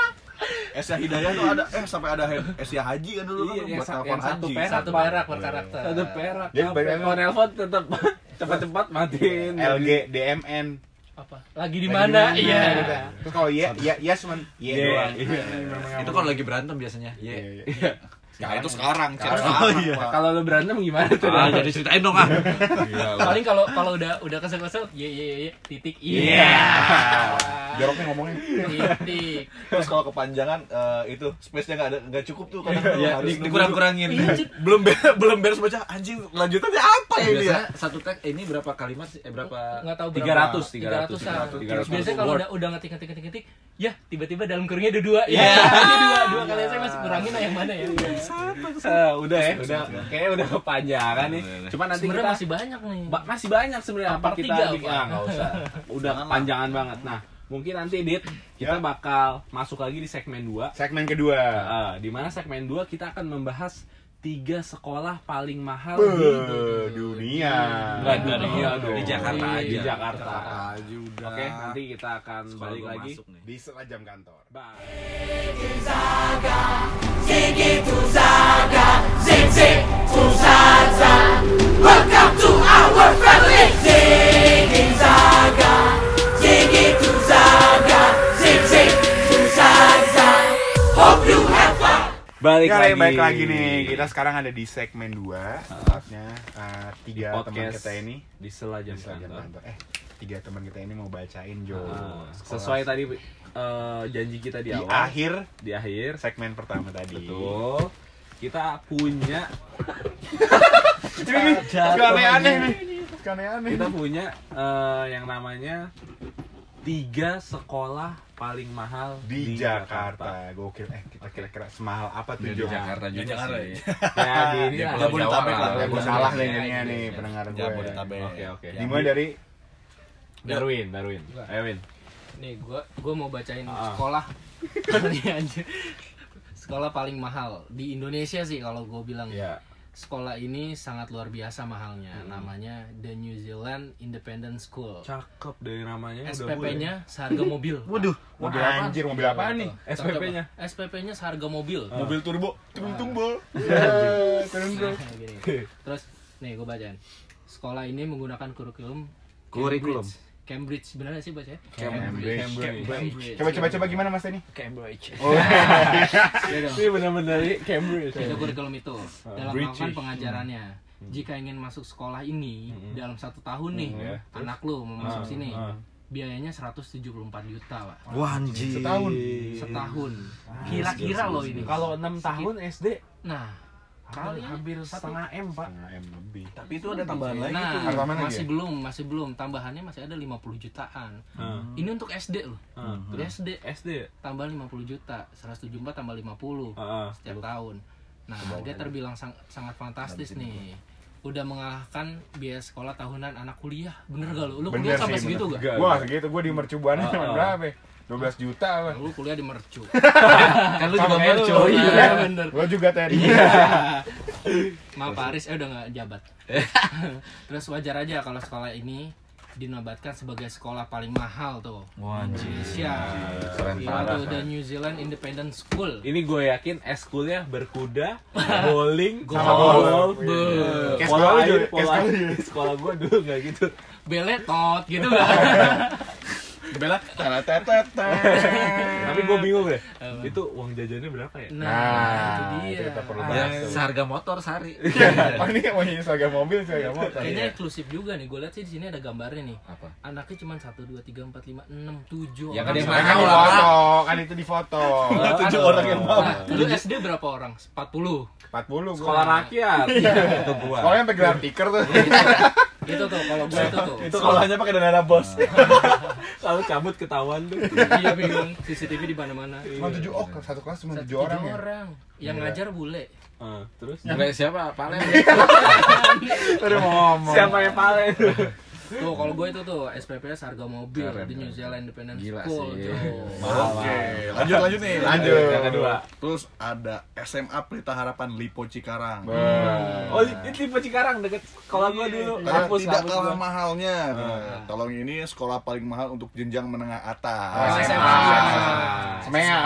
[SPEAKER 2] Esa Hidayah tuh ada eh sampai ada He- Esa Haji kan dulu kan
[SPEAKER 3] Iya, yang
[SPEAKER 2] buat
[SPEAKER 3] sa-
[SPEAKER 2] telepon
[SPEAKER 3] yang satu
[SPEAKER 2] Haji.
[SPEAKER 3] perak.
[SPEAKER 4] Satu perak per karakter.
[SPEAKER 3] Ada perak.
[SPEAKER 1] Dia
[SPEAKER 3] apa?
[SPEAKER 1] kebanyakan-
[SPEAKER 3] Kalau nelpon tetap cepat-cepat matiin.
[SPEAKER 1] LG, DMN.
[SPEAKER 4] Apa? Lagi di mana? Iya.
[SPEAKER 1] Terus kalau iya, iya, iya cuman iya
[SPEAKER 3] Iya,
[SPEAKER 1] doang.
[SPEAKER 3] iya.
[SPEAKER 5] Itu kalau lagi berantem biasanya.
[SPEAKER 1] Iya,
[SPEAKER 5] Iya.
[SPEAKER 1] iya.
[SPEAKER 5] Nah, itu sekarang, Cep.
[SPEAKER 1] Sekarang.
[SPEAKER 5] Sekarang.
[SPEAKER 3] Kalau lo berantem gimana tuh?
[SPEAKER 5] Ah, jadi ceritain dong ah.
[SPEAKER 4] Paling kalau kalau udah udah kesel-kesel, ye ye ye titik iya.
[SPEAKER 1] Joroknya ngomongnya.
[SPEAKER 4] Titik. Iya.
[SPEAKER 2] Terus kalau kepanjangan eh, itu space-nya enggak ada enggak cukup tuh kadang
[SPEAKER 3] Iya,
[SPEAKER 5] Ya,
[SPEAKER 2] harus
[SPEAKER 5] di- dikurang-kurangin.
[SPEAKER 4] Iya, Cep.
[SPEAKER 5] belum ber- belum beres baca anjing lanjutannya apa ya ini ya?
[SPEAKER 6] biasanya satu tag ini berapa kalimat sih? Eh, berapa
[SPEAKER 4] Nggak tahu
[SPEAKER 3] 300,
[SPEAKER 4] 300.
[SPEAKER 3] 300.
[SPEAKER 4] Biasanya kalau udah udah ngetik ngetik ngetik ngetik, ya tiba-tiba dalam kurungnya ada dua. Ya,
[SPEAKER 5] Iya.
[SPEAKER 4] ada dua dua kali saya masih kurangin nah yang mana ya?
[SPEAKER 3] Eh, udah ya, udah kayaknya udah kepanjangan nih. Cuman nanti
[SPEAKER 4] Sebenarnya
[SPEAKER 3] kita
[SPEAKER 4] masih banyak nih.
[SPEAKER 3] Ba- masih banyak sebenarnya apa
[SPEAKER 4] Part
[SPEAKER 3] kita
[SPEAKER 4] tiga,
[SPEAKER 3] bikin
[SPEAKER 4] Pak.
[SPEAKER 3] ah, nggak usah. Udah panjangan banget. Nah, mungkin nanti Dit kita bakal masuk lagi di segmen 2
[SPEAKER 1] Segmen kedua.
[SPEAKER 3] Heeh, di mana segmen 2 kita akan membahas tiga sekolah paling mahal di
[SPEAKER 1] Beuh, dunia.
[SPEAKER 3] Enggak dunia dong.
[SPEAKER 5] Di Jakarta aja.
[SPEAKER 3] Di Jakarta.
[SPEAKER 2] Haji udah.
[SPEAKER 3] Oke, nanti kita akan balik lagi.
[SPEAKER 1] Di selajam kantor.
[SPEAKER 3] Bye.
[SPEAKER 1] Oke,
[SPEAKER 3] Balik lagi.
[SPEAKER 1] baik Ya, lagi nih. Kita sekarang ada di segmen 2. Saatnya eh, tiga teman
[SPEAKER 3] podcast
[SPEAKER 1] kita ini
[SPEAKER 3] di selajang
[SPEAKER 1] di selajam
[SPEAKER 3] kantor.
[SPEAKER 1] kantor. Eh, tiga teman kita ini mau bacain Jo.
[SPEAKER 3] Nah,
[SPEAKER 1] Sekolah
[SPEAKER 3] sesuai tadi eh, janji kita
[SPEAKER 1] di
[SPEAKER 3] di, awal,
[SPEAKER 1] akhir
[SPEAKER 3] di akhir.
[SPEAKER 1] segmen pertama tadi.
[SPEAKER 3] Betul. Kita punya
[SPEAKER 1] Suka aneh-aneh nih. Suka aneh-aneh.
[SPEAKER 3] kita punya eh, yang namanya tiga sekolah paling mahal
[SPEAKER 1] di, Jakarta. Gokil. Eh, kita kira-kira semahal apa tuh,
[SPEAKER 5] Di
[SPEAKER 1] Jo?
[SPEAKER 5] Jakarta juga
[SPEAKER 2] Jakarta.
[SPEAKER 5] sih.
[SPEAKER 3] Ya, di ini lah.
[SPEAKER 2] Jabodetabek lah.
[SPEAKER 1] Gak gue
[SPEAKER 2] Jabodetabek.
[SPEAKER 1] salah nih
[SPEAKER 4] Ya,
[SPEAKER 1] jadinya
[SPEAKER 4] gitu,
[SPEAKER 1] nih
[SPEAKER 4] ya.
[SPEAKER 1] pendengar gue.
[SPEAKER 2] Jabodetabek.
[SPEAKER 3] Oke, oke.
[SPEAKER 1] Dimulai dari
[SPEAKER 3] Darwin, Darwin. Ayo, Win.
[SPEAKER 4] Nih gua gua mau bacain
[SPEAKER 3] Ah.
[SPEAKER 4] sekolah. Nih, anjir. sekolah paling mahal di Indonesia sih kalau gua bilang.
[SPEAKER 3] Ya.
[SPEAKER 4] Sekolah ini sangat luar biasa mahalnya. Namanya The New Zealand Independent School.
[SPEAKER 3] Cakep dari namanya. udah boleh.
[SPEAKER 4] SPP-nya seharga mobil. ya. Waduh,
[SPEAKER 1] mobil anjir, mobil apa nih?
[SPEAKER 3] SPP-nya.
[SPEAKER 4] SPP-nya seharga mobil.
[SPEAKER 2] Mobil turbo,
[SPEAKER 1] Ah.
[SPEAKER 2] tuntung bol.
[SPEAKER 1] Iya,
[SPEAKER 4] Gini. Terus nih gue bacain. Sekolah ini menggunakan kurikulum
[SPEAKER 5] Kurikulum.
[SPEAKER 4] Cambridge. Cambridge benar nggak sih baca?
[SPEAKER 1] Cambridge.
[SPEAKER 3] Iya,
[SPEAKER 4] Cambridge.
[SPEAKER 1] Coba coba coba gimana Mas Tani?
[SPEAKER 6] Cambridge.
[SPEAKER 4] Iya dong.
[SPEAKER 3] Ini benar-benar dari Cambridge.
[SPEAKER 4] Itu kurikulum itu dalam melakukan
[SPEAKER 3] British.
[SPEAKER 4] pengajarannya. Jika ingin masuk sekolah ini dalam satu tahun nih,
[SPEAKER 1] Hmm, ya.
[SPEAKER 4] anak lu mau masuk
[SPEAKER 3] Ah,
[SPEAKER 4] sini,
[SPEAKER 3] ah.
[SPEAKER 4] biayanya 174 juta, Pak.
[SPEAKER 2] Ah,
[SPEAKER 5] Wah, anjir.
[SPEAKER 1] Setahun.
[SPEAKER 2] iya.
[SPEAKER 4] Setahun. Kira-kira loh ini.
[SPEAKER 3] Kalau 6 tahun SD
[SPEAKER 4] nah,
[SPEAKER 3] kali hampir setengah M, Pak.
[SPEAKER 1] Setengah M lebih.
[SPEAKER 2] Tapi itu ada tambahan lagi tuh.
[SPEAKER 4] Nah,
[SPEAKER 1] Tambahan lagi
[SPEAKER 4] masih
[SPEAKER 1] ya?
[SPEAKER 4] belum, masih belum. Tambahannya masih ada 50 jutaan. Ini untuk SD loh.
[SPEAKER 3] Terus
[SPEAKER 4] SD
[SPEAKER 3] SD.
[SPEAKER 4] tambah 50 juta, 174 tambah 50
[SPEAKER 3] Heeh.
[SPEAKER 4] setiap tahun. Nah, dia terbilang sang- sangat fantastis nih. Udah mengalahkan biaya sekolah tahunan anak kuliah. Bener gak lu? Lu kuliah
[SPEAKER 1] Bener
[SPEAKER 4] sampai
[SPEAKER 1] sih,
[SPEAKER 4] segitu
[SPEAKER 1] bener.
[SPEAKER 4] gak?
[SPEAKER 1] Gua segitu, gua di mercubuan cuman berapa? ya? 12 juta apa?
[SPEAKER 4] Lu kuliah di mercu.
[SPEAKER 5] Kan lu juga
[SPEAKER 1] Sama kayak
[SPEAKER 5] mercu.
[SPEAKER 1] lu.
[SPEAKER 4] iya, bener.
[SPEAKER 1] Gua juga tadi.
[SPEAKER 4] Maaf Pak Aris, eh udah gak jabat. Terus wajar aja kalau sekolah ini dinobatkan sebagai sekolah paling mahal tuh.
[SPEAKER 5] Wah, anjir.
[SPEAKER 4] Indonesia.
[SPEAKER 5] Keren
[SPEAKER 4] Itu
[SPEAKER 5] parah.
[SPEAKER 4] the New Zealand Independent School.
[SPEAKER 3] Ini gue yakin eskulnya berkuda, bowling,
[SPEAKER 4] Golf.
[SPEAKER 3] golf. Iya.
[SPEAKER 4] Be.
[SPEAKER 1] Kayak
[SPEAKER 3] Pola
[SPEAKER 1] sekolah lu,
[SPEAKER 3] air,
[SPEAKER 1] Jo. Kayak
[SPEAKER 3] pola
[SPEAKER 1] sekolah lu,
[SPEAKER 3] air. Sekolah gue dulu nggak gitu.
[SPEAKER 4] Beletot gitu kan.
[SPEAKER 2] Bela, tetetetet.
[SPEAKER 3] Tapi gue bingung deh. Itu uang jajannya berapa ya?
[SPEAKER 4] Nah,
[SPEAKER 1] Nah,
[SPEAKER 4] itu
[SPEAKER 1] itu
[SPEAKER 4] dia.
[SPEAKER 1] kita perlu
[SPEAKER 4] Ah,
[SPEAKER 5] Ya,
[SPEAKER 1] bahas. tuh.
[SPEAKER 5] seharga motor sehari.
[SPEAKER 1] Oh ini mau nyanyi seragam mobil, seragam motor.
[SPEAKER 4] Kayaknya inklusif juga nih. Gue lihat sih di sini ada gambarnya nih.
[SPEAKER 5] ya. Apa?
[SPEAKER 4] Anaknya cuma 1 2 3 4 5 6 7.
[SPEAKER 5] Ya kan dia
[SPEAKER 1] Kan
[SPEAKER 5] mahal
[SPEAKER 1] di
[SPEAKER 5] lah.
[SPEAKER 1] foto, kan itu di foto.
[SPEAKER 2] Tujuh orang yang mau.
[SPEAKER 4] Lu SD berapa orang? 40.
[SPEAKER 1] 40 gua.
[SPEAKER 3] Sekolah Iya, rakyat.
[SPEAKER 5] Itu gua.
[SPEAKER 1] Sekolahnya sampai gelar tiker tuh.
[SPEAKER 4] Itu Gitu tuh kalau gue itu tuh.
[SPEAKER 2] Sekolahnya pakai dana bos.
[SPEAKER 3] Kalau cabut ketahuan tuh.
[SPEAKER 4] Iya bingung. CCTV di mana-mana.
[SPEAKER 1] Cuma
[SPEAKER 3] iya.
[SPEAKER 1] 7 oh, satu kelas cuma 7
[SPEAKER 4] Tujuh
[SPEAKER 1] orang ya.
[SPEAKER 4] Yang ngajar bule.
[SPEAKER 3] Eh, Terus
[SPEAKER 5] Bule siapa? Palen.
[SPEAKER 1] Udah mau ngomong.
[SPEAKER 3] siapa yang paling?
[SPEAKER 4] Tuh kalau gue itu tuh SPP harga mobil
[SPEAKER 5] Keren,
[SPEAKER 4] di New
[SPEAKER 5] keren.
[SPEAKER 4] Zealand Independent
[SPEAKER 5] Gila
[SPEAKER 4] School.
[SPEAKER 5] sih.
[SPEAKER 4] tuh.
[SPEAKER 2] Oke, lanjut lanjut nih.
[SPEAKER 1] Lanjut.
[SPEAKER 3] Yang kedua.
[SPEAKER 2] Terus ada SMA Pelita Harapan Lipo Cikarang.
[SPEAKER 3] Oh, ini tipe Cikarang deket sekolah gua dulu.
[SPEAKER 2] Karena
[SPEAKER 3] Kampus,
[SPEAKER 2] Iya, tidak
[SPEAKER 3] kampus
[SPEAKER 2] kalah
[SPEAKER 3] gua.
[SPEAKER 2] mahalnya. Nah, Tolong ini sekolah paling mahal untuk jenjang menengah
[SPEAKER 1] Oh,
[SPEAKER 2] atas.
[SPEAKER 1] SMA. Semea.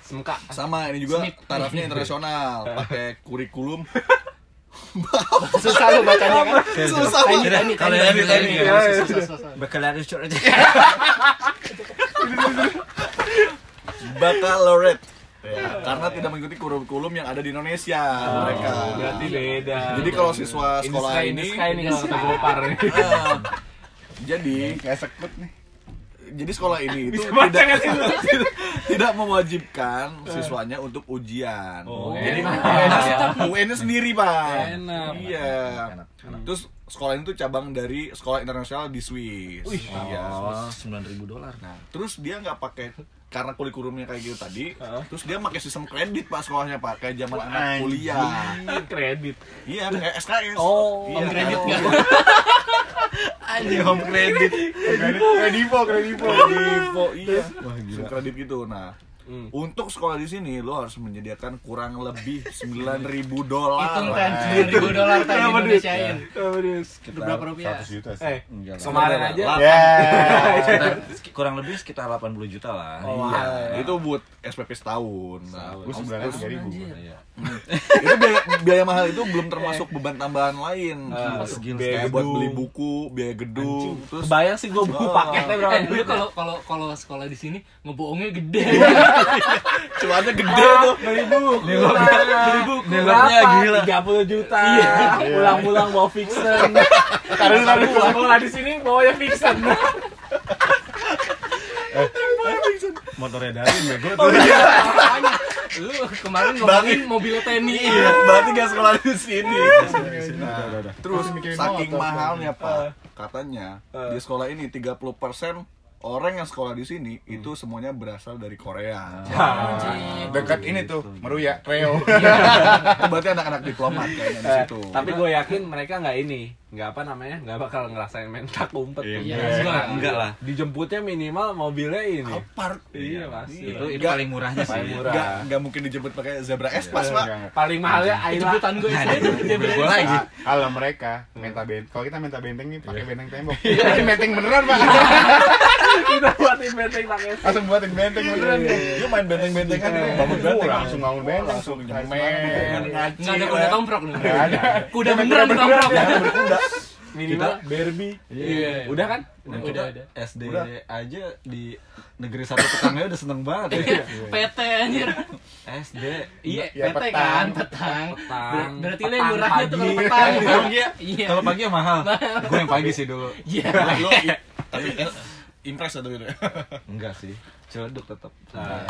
[SPEAKER 3] Semka.
[SPEAKER 2] Sama ini juga tarafnya internasional, pakai kurikulum.
[SPEAKER 1] Susah lu bacanya kan.
[SPEAKER 2] Susah banget.
[SPEAKER 5] Kalau yang di
[SPEAKER 3] Iya,
[SPEAKER 5] tadi ya. Baccalaureate.
[SPEAKER 2] Baccalaureate. Ya, karena tidak mengikuti kurikulum yang ada di Indonesia
[SPEAKER 1] Ah.
[SPEAKER 2] mereka.
[SPEAKER 3] Berarti beda.
[SPEAKER 2] Jadi kalau siswa sekolah
[SPEAKER 3] Inskai-
[SPEAKER 2] ini
[SPEAKER 3] inskai nih kalau kata Gopar.
[SPEAKER 2] eh, jadi
[SPEAKER 1] Kayak sekut nih.
[SPEAKER 2] jadi sekolah ini itu
[SPEAKER 3] Bisa baca
[SPEAKER 2] tidak
[SPEAKER 3] nggak sih lu?
[SPEAKER 2] tidak mewajibkan siswanya untuk ujian.
[SPEAKER 3] Oh,
[SPEAKER 2] Jadi
[SPEAKER 3] enak.
[SPEAKER 2] UN-nya sendiri, Pak.
[SPEAKER 3] Enak.
[SPEAKER 2] Iya. Terus sekolah itu cabang dari sekolah internasional di Swiss. Iya.
[SPEAKER 5] Oh, 9000 dolar. Nah,
[SPEAKER 2] Terus dia nggak pakai karena kurikulumnya kayak gitu tadi, terus dia pakai sistem kredit Pak sekolahnya Pak kayak zaman anak kuliah.
[SPEAKER 3] Kredit.
[SPEAKER 2] Iya, kayak SKS.
[SPEAKER 3] Oh,
[SPEAKER 2] iya,
[SPEAKER 4] Om kredit
[SPEAKER 2] kan?
[SPEAKER 4] nggak?
[SPEAKER 2] Iya, home kredit.
[SPEAKER 1] Kredivo, kredivo.
[SPEAKER 2] Kredivo, iya. Wah, gila. Kredit gitu. Nah,
[SPEAKER 3] Hmm.
[SPEAKER 2] untuk sekolah di sini lo harus menyediakan kurang lebih 9000 dolar.
[SPEAKER 4] Hitung kan 2000 dolar tadi ya.
[SPEAKER 3] Berapa duit?
[SPEAKER 4] Indonesiain.
[SPEAKER 3] Berapa duit?
[SPEAKER 4] Itu berapa rupiah?
[SPEAKER 1] 100 juta sih.
[SPEAKER 3] Eh,
[SPEAKER 5] enggak lah.
[SPEAKER 3] kemarin aja.
[SPEAKER 1] Ya.
[SPEAKER 5] Iya. Sekitar- kurang lebih sekitar 80 juta lah.
[SPEAKER 2] Iya, itu buat SPP setahun. Nah,
[SPEAKER 1] Gua sebulan tiga ribu.
[SPEAKER 2] itu biaya, biaya mahal itu belum termasuk beban tambahan lain. Kayak
[SPEAKER 5] Gila,
[SPEAKER 3] Biaya
[SPEAKER 2] buat
[SPEAKER 3] gedung.
[SPEAKER 2] beli buku, biaya gedung, terus
[SPEAKER 3] Kebayang sih gua buku
[SPEAKER 2] Oh.
[SPEAKER 3] paketnya berapa
[SPEAKER 4] Eh,
[SPEAKER 3] duit.
[SPEAKER 4] lu kalau kalau kalau sekolah di sini ngebohongnya gede.
[SPEAKER 2] cuannya gede tuh.
[SPEAKER 3] beli buku beli buku
[SPEAKER 5] Nilainya gila.
[SPEAKER 3] tiga puluh juta pulang-pulang bawa fiction taruh taruh pulang sekolah di sini bawanya fiction
[SPEAKER 1] Eh, Motornya dari bego tuh.
[SPEAKER 4] Apanya? lu kemarin ngomongin mobil teni.
[SPEAKER 2] Iya, berarti gak sekolah di sini.
[SPEAKER 1] Udah, udah, udah.
[SPEAKER 2] Terus
[SPEAKER 1] Mikirin
[SPEAKER 2] saking
[SPEAKER 3] Eh.
[SPEAKER 1] motor.
[SPEAKER 2] mahalnya, Pak. Katanya di sekolah ini 30% orang yang sekolah di sini itu
[SPEAKER 3] Hmm.
[SPEAKER 2] semuanya berasal dari Korea.
[SPEAKER 3] Ah.
[SPEAKER 4] Anjing.
[SPEAKER 1] Dekat ini tuh, Meruya, Reo.
[SPEAKER 2] Berarti anak-anak diplomat kayaknya di situ.
[SPEAKER 3] Eh, Tapi gue yakin mereka nggak ini, nggak apa namanya, nggak bakal ngerasain mentak umpet.
[SPEAKER 4] Iya.
[SPEAKER 5] Enggak, enggak lah.
[SPEAKER 3] Dijemputnya minimal mobilnya ini.
[SPEAKER 2] Apart.
[SPEAKER 3] Iya pasti.
[SPEAKER 5] Itu itu
[SPEAKER 2] Enggak. Iya,
[SPEAKER 5] paling murahnya sih.
[SPEAKER 3] Paling murah. Iya,
[SPEAKER 2] Nggak, nggak mungkin dijemput pakai zebra espas, Pak.
[SPEAKER 3] Paling mahalnya Ayla.
[SPEAKER 4] Jemputan gue iya.
[SPEAKER 5] Gue
[SPEAKER 1] Iya.
[SPEAKER 5] lagi.
[SPEAKER 1] Nah, Kalau mereka minta benteng, kalau kita minta benteng nih pakai benteng tembok. Ini benteng beneran, Pak.
[SPEAKER 3] Kita buatin benteng pakai
[SPEAKER 1] Langsung buatin benteng beneran.
[SPEAKER 2] Dia main benteng-bentengan, bangun
[SPEAKER 1] Bangun
[SPEAKER 2] benteng
[SPEAKER 1] langsung bangun benteng, langsung
[SPEAKER 2] Dengan
[SPEAKER 1] cemen.
[SPEAKER 2] ngaci,
[SPEAKER 4] Nggak ada
[SPEAKER 2] ya.
[SPEAKER 4] kuda tomprok nih.
[SPEAKER 1] Nggak Iya. ada.
[SPEAKER 4] Kuda beneran tomprok.
[SPEAKER 2] Jangan berkuda.
[SPEAKER 3] minimal Barbie. Iya. Udah kan?
[SPEAKER 5] Dan
[SPEAKER 4] Udah,
[SPEAKER 5] kita
[SPEAKER 4] udah.
[SPEAKER 5] SD
[SPEAKER 2] Udah.
[SPEAKER 5] aja di negeri satu tetangga udah seneng
[SPEAKER 4] Iya.
[SPEAKER 5] banget ya.
[SPEAKER 4] PT anjir.
[SPEAKER 5] SD.
[SPEAKER 4] Iya,
[SPEAKER 1] Iya,
[SPEAKER 4] PT
[SPEAKER 1] petang.
[SPEAKER 4] kan, petang.
[SPEAKER 3] Petang.
[SPEAKER 4] Ber- Berarti lo yang
[SPEAKER 3] Petang
[SPEAKER 4] murahnya tuh kalau
[SPEAKER 3] pagi.
[SPEAKER 4] petang.
[SPEAKER 5] Kalau pagi ya,
[SPEAKER 4] Iya.
[SPEAKER 5] kalau pagi ya mahal. Gue yang pagi sih dulu.
[SPEAKER 4] Iya.
[SPEAKER 2] Lu, tapi eh, impress atau gitu.
[SPEAKER 5] Enggak sih. Celeduk tetap.
[SPEAKER 4] Nah,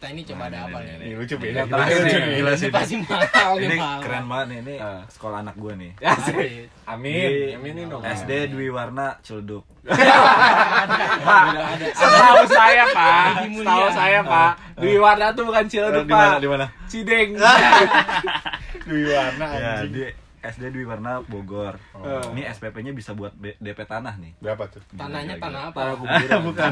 [SPEAKER 4] Teh ini coba ada apa
[SPEAKER 1] Ini
[SPEAKER 4] nih?
[SPEAKER 1] lucu beda.
[SPEAKER 5] Gila sih,
[SPEAKER 4] iya.
[SPEAKER 5] gila sih.
[SPEAKER 4] Ini pasti mahal nih,
[SPEAKER 5] Ini
[SPEAKER 4] Oh, mahal. Ya.
[SPEAKER 5] keren banget nih, ini
[SPEAKER 3] Ah.
[SPEAKER 5] sekolah anak gue nih.
[SPEAKER 4] Asik.
[SPEAKER 3] Amin. Aminin
[SPEAKER 4] Oh,
[SPEAKER 3] dong.
[SPEAKER 4] iya.
[SPEAKER 5] SD Dwi Warna Celeduk.
[SPEAKER 3] Pak, setahu saya pak,
[SPEAKER 4] Lagi mulia.
[SPEAKER 3] setahu saya pak, Dwi Warna tuh bukan Ciledug
[SPEAKER 5] Di mana? Di
[SPEAKER 3] pak,
[SPEAKER 5] mana?
[SPEAKER 3] Cideng.
[SPEAKER 1] Dwi warna
[SPEAKER 2] Iya.
[SPEAKER 5] Ya,
[SPEAKER 1] anjing.
[SPEAKER 5] di SD Dwi Warna Bogor.
[SPEAKER 4] Oh.
[SPEAKER 5] Oh. Ini SPP-nya bisa buat B- DP tanah nih.
[SPEAKER 1] Berapa tuh?
[SPEAKER 4] Tanahnya
[SPEAKER 5] Gila,
[SPEAKER 4] tanah apa?
[SPEAKER 3] Para kuburan.
[SPEAKER 5] Bukan.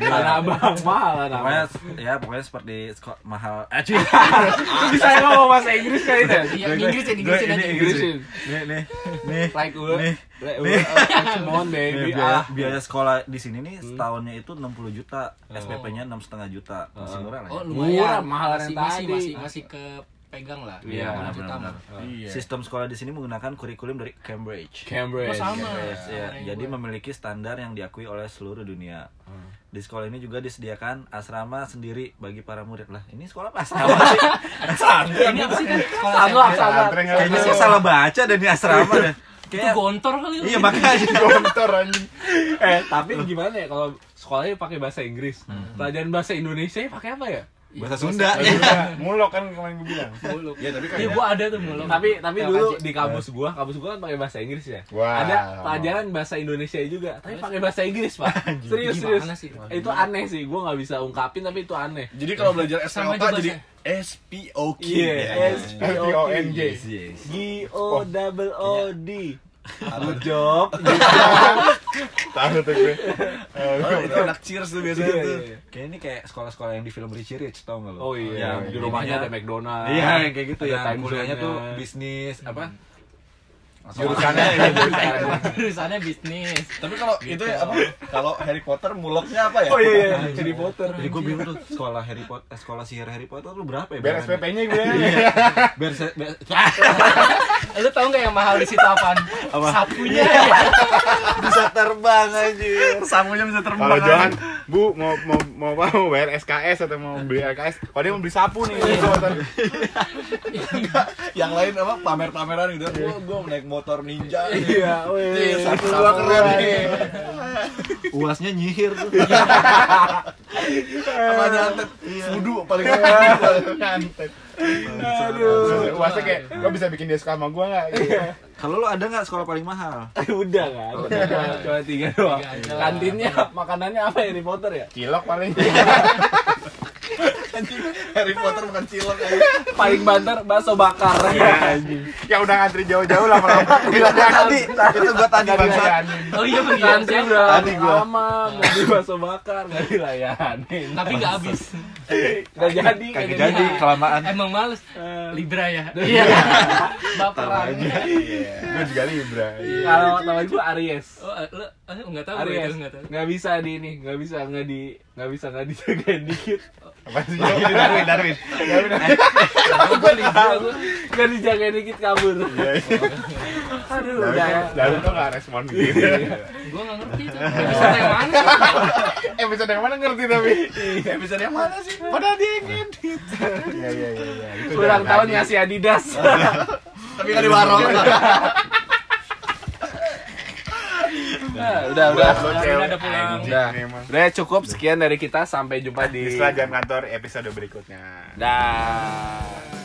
[SPEAKER 3] Tanah abang mahal
[SPEAKER 5] Pokoknya
[SPEAKER 3] namanya.
[SPEAKER 5] ya pokoknya seperti sekolah mahal. Eh, cuy.
[SPEAKER 3] Bisa ya ngomong bahasa Inggris kali deh.
[SPEAKER 4] Iya, Inggrisin,
[SPEAKER 5] Gue
[SPEAKER 4] Inggrisin
[SPEAKER 5] ini
[SPEAKER 4] aja.
[SPEAKER 5] Inggrisin. Nih, nih, nih.
[SPEAKER 3] Like ulu,
[SPEAKER 5] Nih.
[SPEAKER 3] like
[SPEAKER 5] Nih.
[SPEAKER 3] ah, come on
[SPEAKER 5] Nih,
[SPEAKER 3] baby.
[SPEAKER 5] Iya, biaya,
[SPEAKER 3] Ah,
[SPEAKER 5] biaya sekolah di sini nih setahunnya itu 60 juta, SPP-nya 6,5 juta. Masih murah lah.
[SPEAKER 4] Oh,
[SPEAKER 5] ya.
[SPEAKER 3] Murah,
[SPEAKER 4] lumayan.
[SPEAKER 3] mahal yang
[SPEAKER 4] Masih- masih-
[SPEAKER 3] tadi.
[SPEAKER 4] Masih masih kepegang lah. Oh,
[SPEAKER 3] Iya,
[SPEAKER 5] Benar,
[SPEAKER 4] 6 juta
[SPEAKER 5] benar,
[SPEAKER 4] mah.
[SPEAKER 5] benar. Sistem sekolah di sini menggunakan kurikulum dari Cambridge.
[SPEAKER 3] Cambridge.
[SPEAKER 4] Oh, sama.
[SPEAKER 5] Yes, ya.
[SPEAKER 4] Sama yang
[SPEAKER 5] Jadi
[SPEAKER 4] gue.
[SPEAKER 5] memiliki standar yang diakui oleh seluruh dunia. Di sekolah ini juga disediakan asrama sendiri bagi para murid lah. Ini sekolah apa asrama sih?
[SPEAKER 4] Ini apa sih kan? Sekolah
[SPEAKER 3] Satu lah,
[SPEAKER 4] SMP.
[SPEAKER 3] satu lah.
[SPEAKER 1] Santren
[SPEAKER 5] Kayaknya saya salah baca dan di asrama deh.
[SPEAKER 4] Itu
[SPEAKER 5] Kayak
[SPEAKER 4] gontor kali lu.
[SPEAKER 5] iya makanya.
[SPEAKER 1] Gontor anjing.
[SPEAKER 3] Eh, tapi gimana ya kalau sekolahnya pakai bahasa Inggris?
[SPEAKER 5] Hmm.
[SPEAKER 3] Pelajaran bahasa Indonesia pakai apa ya?
[SPEAKER 5] Bahasa Sunda.
[SPEAKER 1] Iya, Mulok kan kemarin gue bilang.
[SPEAKER 4] Muluk.
[SPEAKER 2] Ya, tapi
[SPEAKER 4] Iya, gua ada tuh muluk.
[SPEAKER 3] Tapi tapi
[SPEAKER 4] Ya,
[SPEAKER 3] dulu
[SPEAKER 4] Kaji.
[SPEAKER 3] di kampus gua, kampus gua kan pakai bahasa Inggris ya.
[SPEAKER 1] Wah.
[SPEAKER 3] Ada pelajaran bahasa Indonesia juga, tapi pakai bahasa Inggris, Pak. Serius, serius.
[SPEAKER 4] Gimana sih?
[SPEAKER 3] Itu aneh sih, gua nggak bisa ungkapin tapi itu aneh.
[SPEAKER 2] Jadi kalau belajar
[SPEAKER 4] Sama
[SPEAKER 2] SPOK
[SPEAKER 4] aja
[SPEAKER 2] jadi SPOK.
[SPEAKER 3] Iya, S P O N G.
[SPEAKER 5] Yes, yes.
[SPEAKER 3] G O double O D.
[SPEAKER 5] Good job.
[SPEAKER 1] Tahu tuh gue.
[SPEAKER 2] Oh, itu anak cheers tuh biasanya
[SPEAKER 3] Iya,
[SPEAKER 2] tuh.
[SPEAKER 3] iya, iya.
[SPEAKER 5] Kayak ini kayak sekolah-sekolah yang di film Richie Rich tau gak lo?
[SPEAKER 3] Oh iya,
[SPEAKER 5] Yang
[SPEAKER 3] di rumahnya ada
[SPEAKER 5] ininya-
[SPEAKER 3] McDonald.
[SPEAKER 5] Iya yang kayak gitu ya.
[SPEAKER 3] time zone-nya.
[SPEAKER 5] Kuliahnya tuh bisnis apa?
[SPEAKER 1] Jurusannya
[SPEAKER 4] Jurusannya bisnis. Gitu.
[SPEAKER 2] Tapi kalau itu ya apa? Kalau Harry Potter muloknya apa ya?
[SPEAKER 3] Gitu. Oh iya, iya, Harry Potter.
[SPEAKER 5] Jadi gue bingung tuh sekolah Harry Potter, eh, sekolah sihir Harry Potter lu berapa ya?
[SPEAKER 1] Beres
[SPEAKER 5] bayarannya? Iya.
[SPEAKER 1] PP-nya gue.
[SPEAKER 5] Biar se- biar-
[SPEAKER 4] Lu tau nggak yang mahal di situ apaan? Sapunya.
[SPEAKER 5] bisa terbang anjir. Samunya bisa terbang.
[SPEAKER 1] Kalau Johan, Bu mau mau mau apa? Mau bayar SKS atau mau beli LKS? Kalau dia mau beli sapu nih.
[SPEAKER 2] Yang lain apa pamer-pameran gitu. Gua gua naik motor ninja.
[SPEAKER 3] Iya, weh.
[SPEAKER 2] Iya, satu dua keren nih.
[SPEAKER 5] Uasnya nyihir tuh.
[SPEAKER 2] Sama nyantet. Fudu paling
[SPEAKER 1] Iya. Nyantet. Aduh. Wasnya kayak, lo bisa bikin dia suka sama gue nggak? Gitu.
[SPEAKER 5] Kalau lu ada nggak sekolah paling mahal?
[SPEAKER 3] Udah kan? Udah, Cuma tiga doang.
[SPEAKER 4] Tiga aja lah.
[SPEAKER 3] Kantinnya makanannya apa ya, Harry Potter ya?
[SPEAKER 1] Cilok paling.
[SPEAKER 2] Harry Potter bukan cilok ya.
[SPEAKER 3] Paling banter bakso bakar.
[SPEAKER 1] Ya udah ngantri jauh-jauh lama-lama. Gila
[SPEAKER 5] tadi, itu gua tadi bangsa.
[SPEAKER 4] Oh iya beneran
[SPEAKER 3] Kantin
[SPEAKER 4] sih.
[SPEAKER 3] udah
[SPEAKER 5] Tadi gua.
[SPEAKER 3] Kan lama mau beli bakso bakar nggak dilayanin.
[SPEAKER 4] Tapi nggak habis. Iya,
[SPEAKER 3] Nggak jadi.
[SPEAKER 5] Kagak
[SPEAKER 3] kagak
[SPEAKER 5] jadi
[SPEAKER 3] jadi.
[SPEAKER 5] kelamaan.
[SPEAKER 4] Emang males. Libra ya.
[SPEAKER 3] Iya.
[SPEAKER 4] Baperan.
[SPEAKER 1] Gue juga Libra.
[SPEAKER 3] Kalau teman gue Aries.
[SPEAKER 4] Oh, eh, lu eh, nggak tahu gue
[SPEAKER 3] Aries
[SPEAKER 4] itu nggak tahu.
[SPEAKER 3] nggak bisa di ini, nggak bisa nggak di nggak bisa nggak dijagain dikit.
[SPEAKER 1] Apa sih? Darwin, Darwin.
[SPEAKER 3] Gue Libra, gua nggak dijagain dikit kabur. Aduh, Iya, udah. ya.
[SPEAKER 1] Darwin tuh nggak respon gitu.
[SPEAKER 4] Gue nggak ngerti itu. Nggak bisa yang mana?
[SPEAKER 1] Episode yang mana ngerti tapi.
[SPEAKER 2] Episode yang mana sih?
[SPEAKER 1] Padahal dia ingin. Iya iya iya. iya. Itu
[SPEAKER 3] Kurang
[SPEAKER 1] dari
[SPEAKER 3] tahun
[SPEAKER 1] tadi.
[SPEAKER 3] ngasih Adidas.
[SPEAKER 2] Tapi kan di warung.
[SPEAKER 3] Nah, udah, udah.
[SPEAKER 1] Buat lo cewek.
[SPEAKER 4] ada pulang.
[SPEAKER 1] Anjing
[SPEAKER 3] Udah.
[SPEAKER 1] ini emang.
[SPEAKER 3] Udah cukup sekian dari kita sampai jumpa
[SPEAKER 1] Di
[SPEAKER 3] di
[SPEAKER 1] setelah jam kantor episode berikutnya.
[SPEAKER 3] Dah.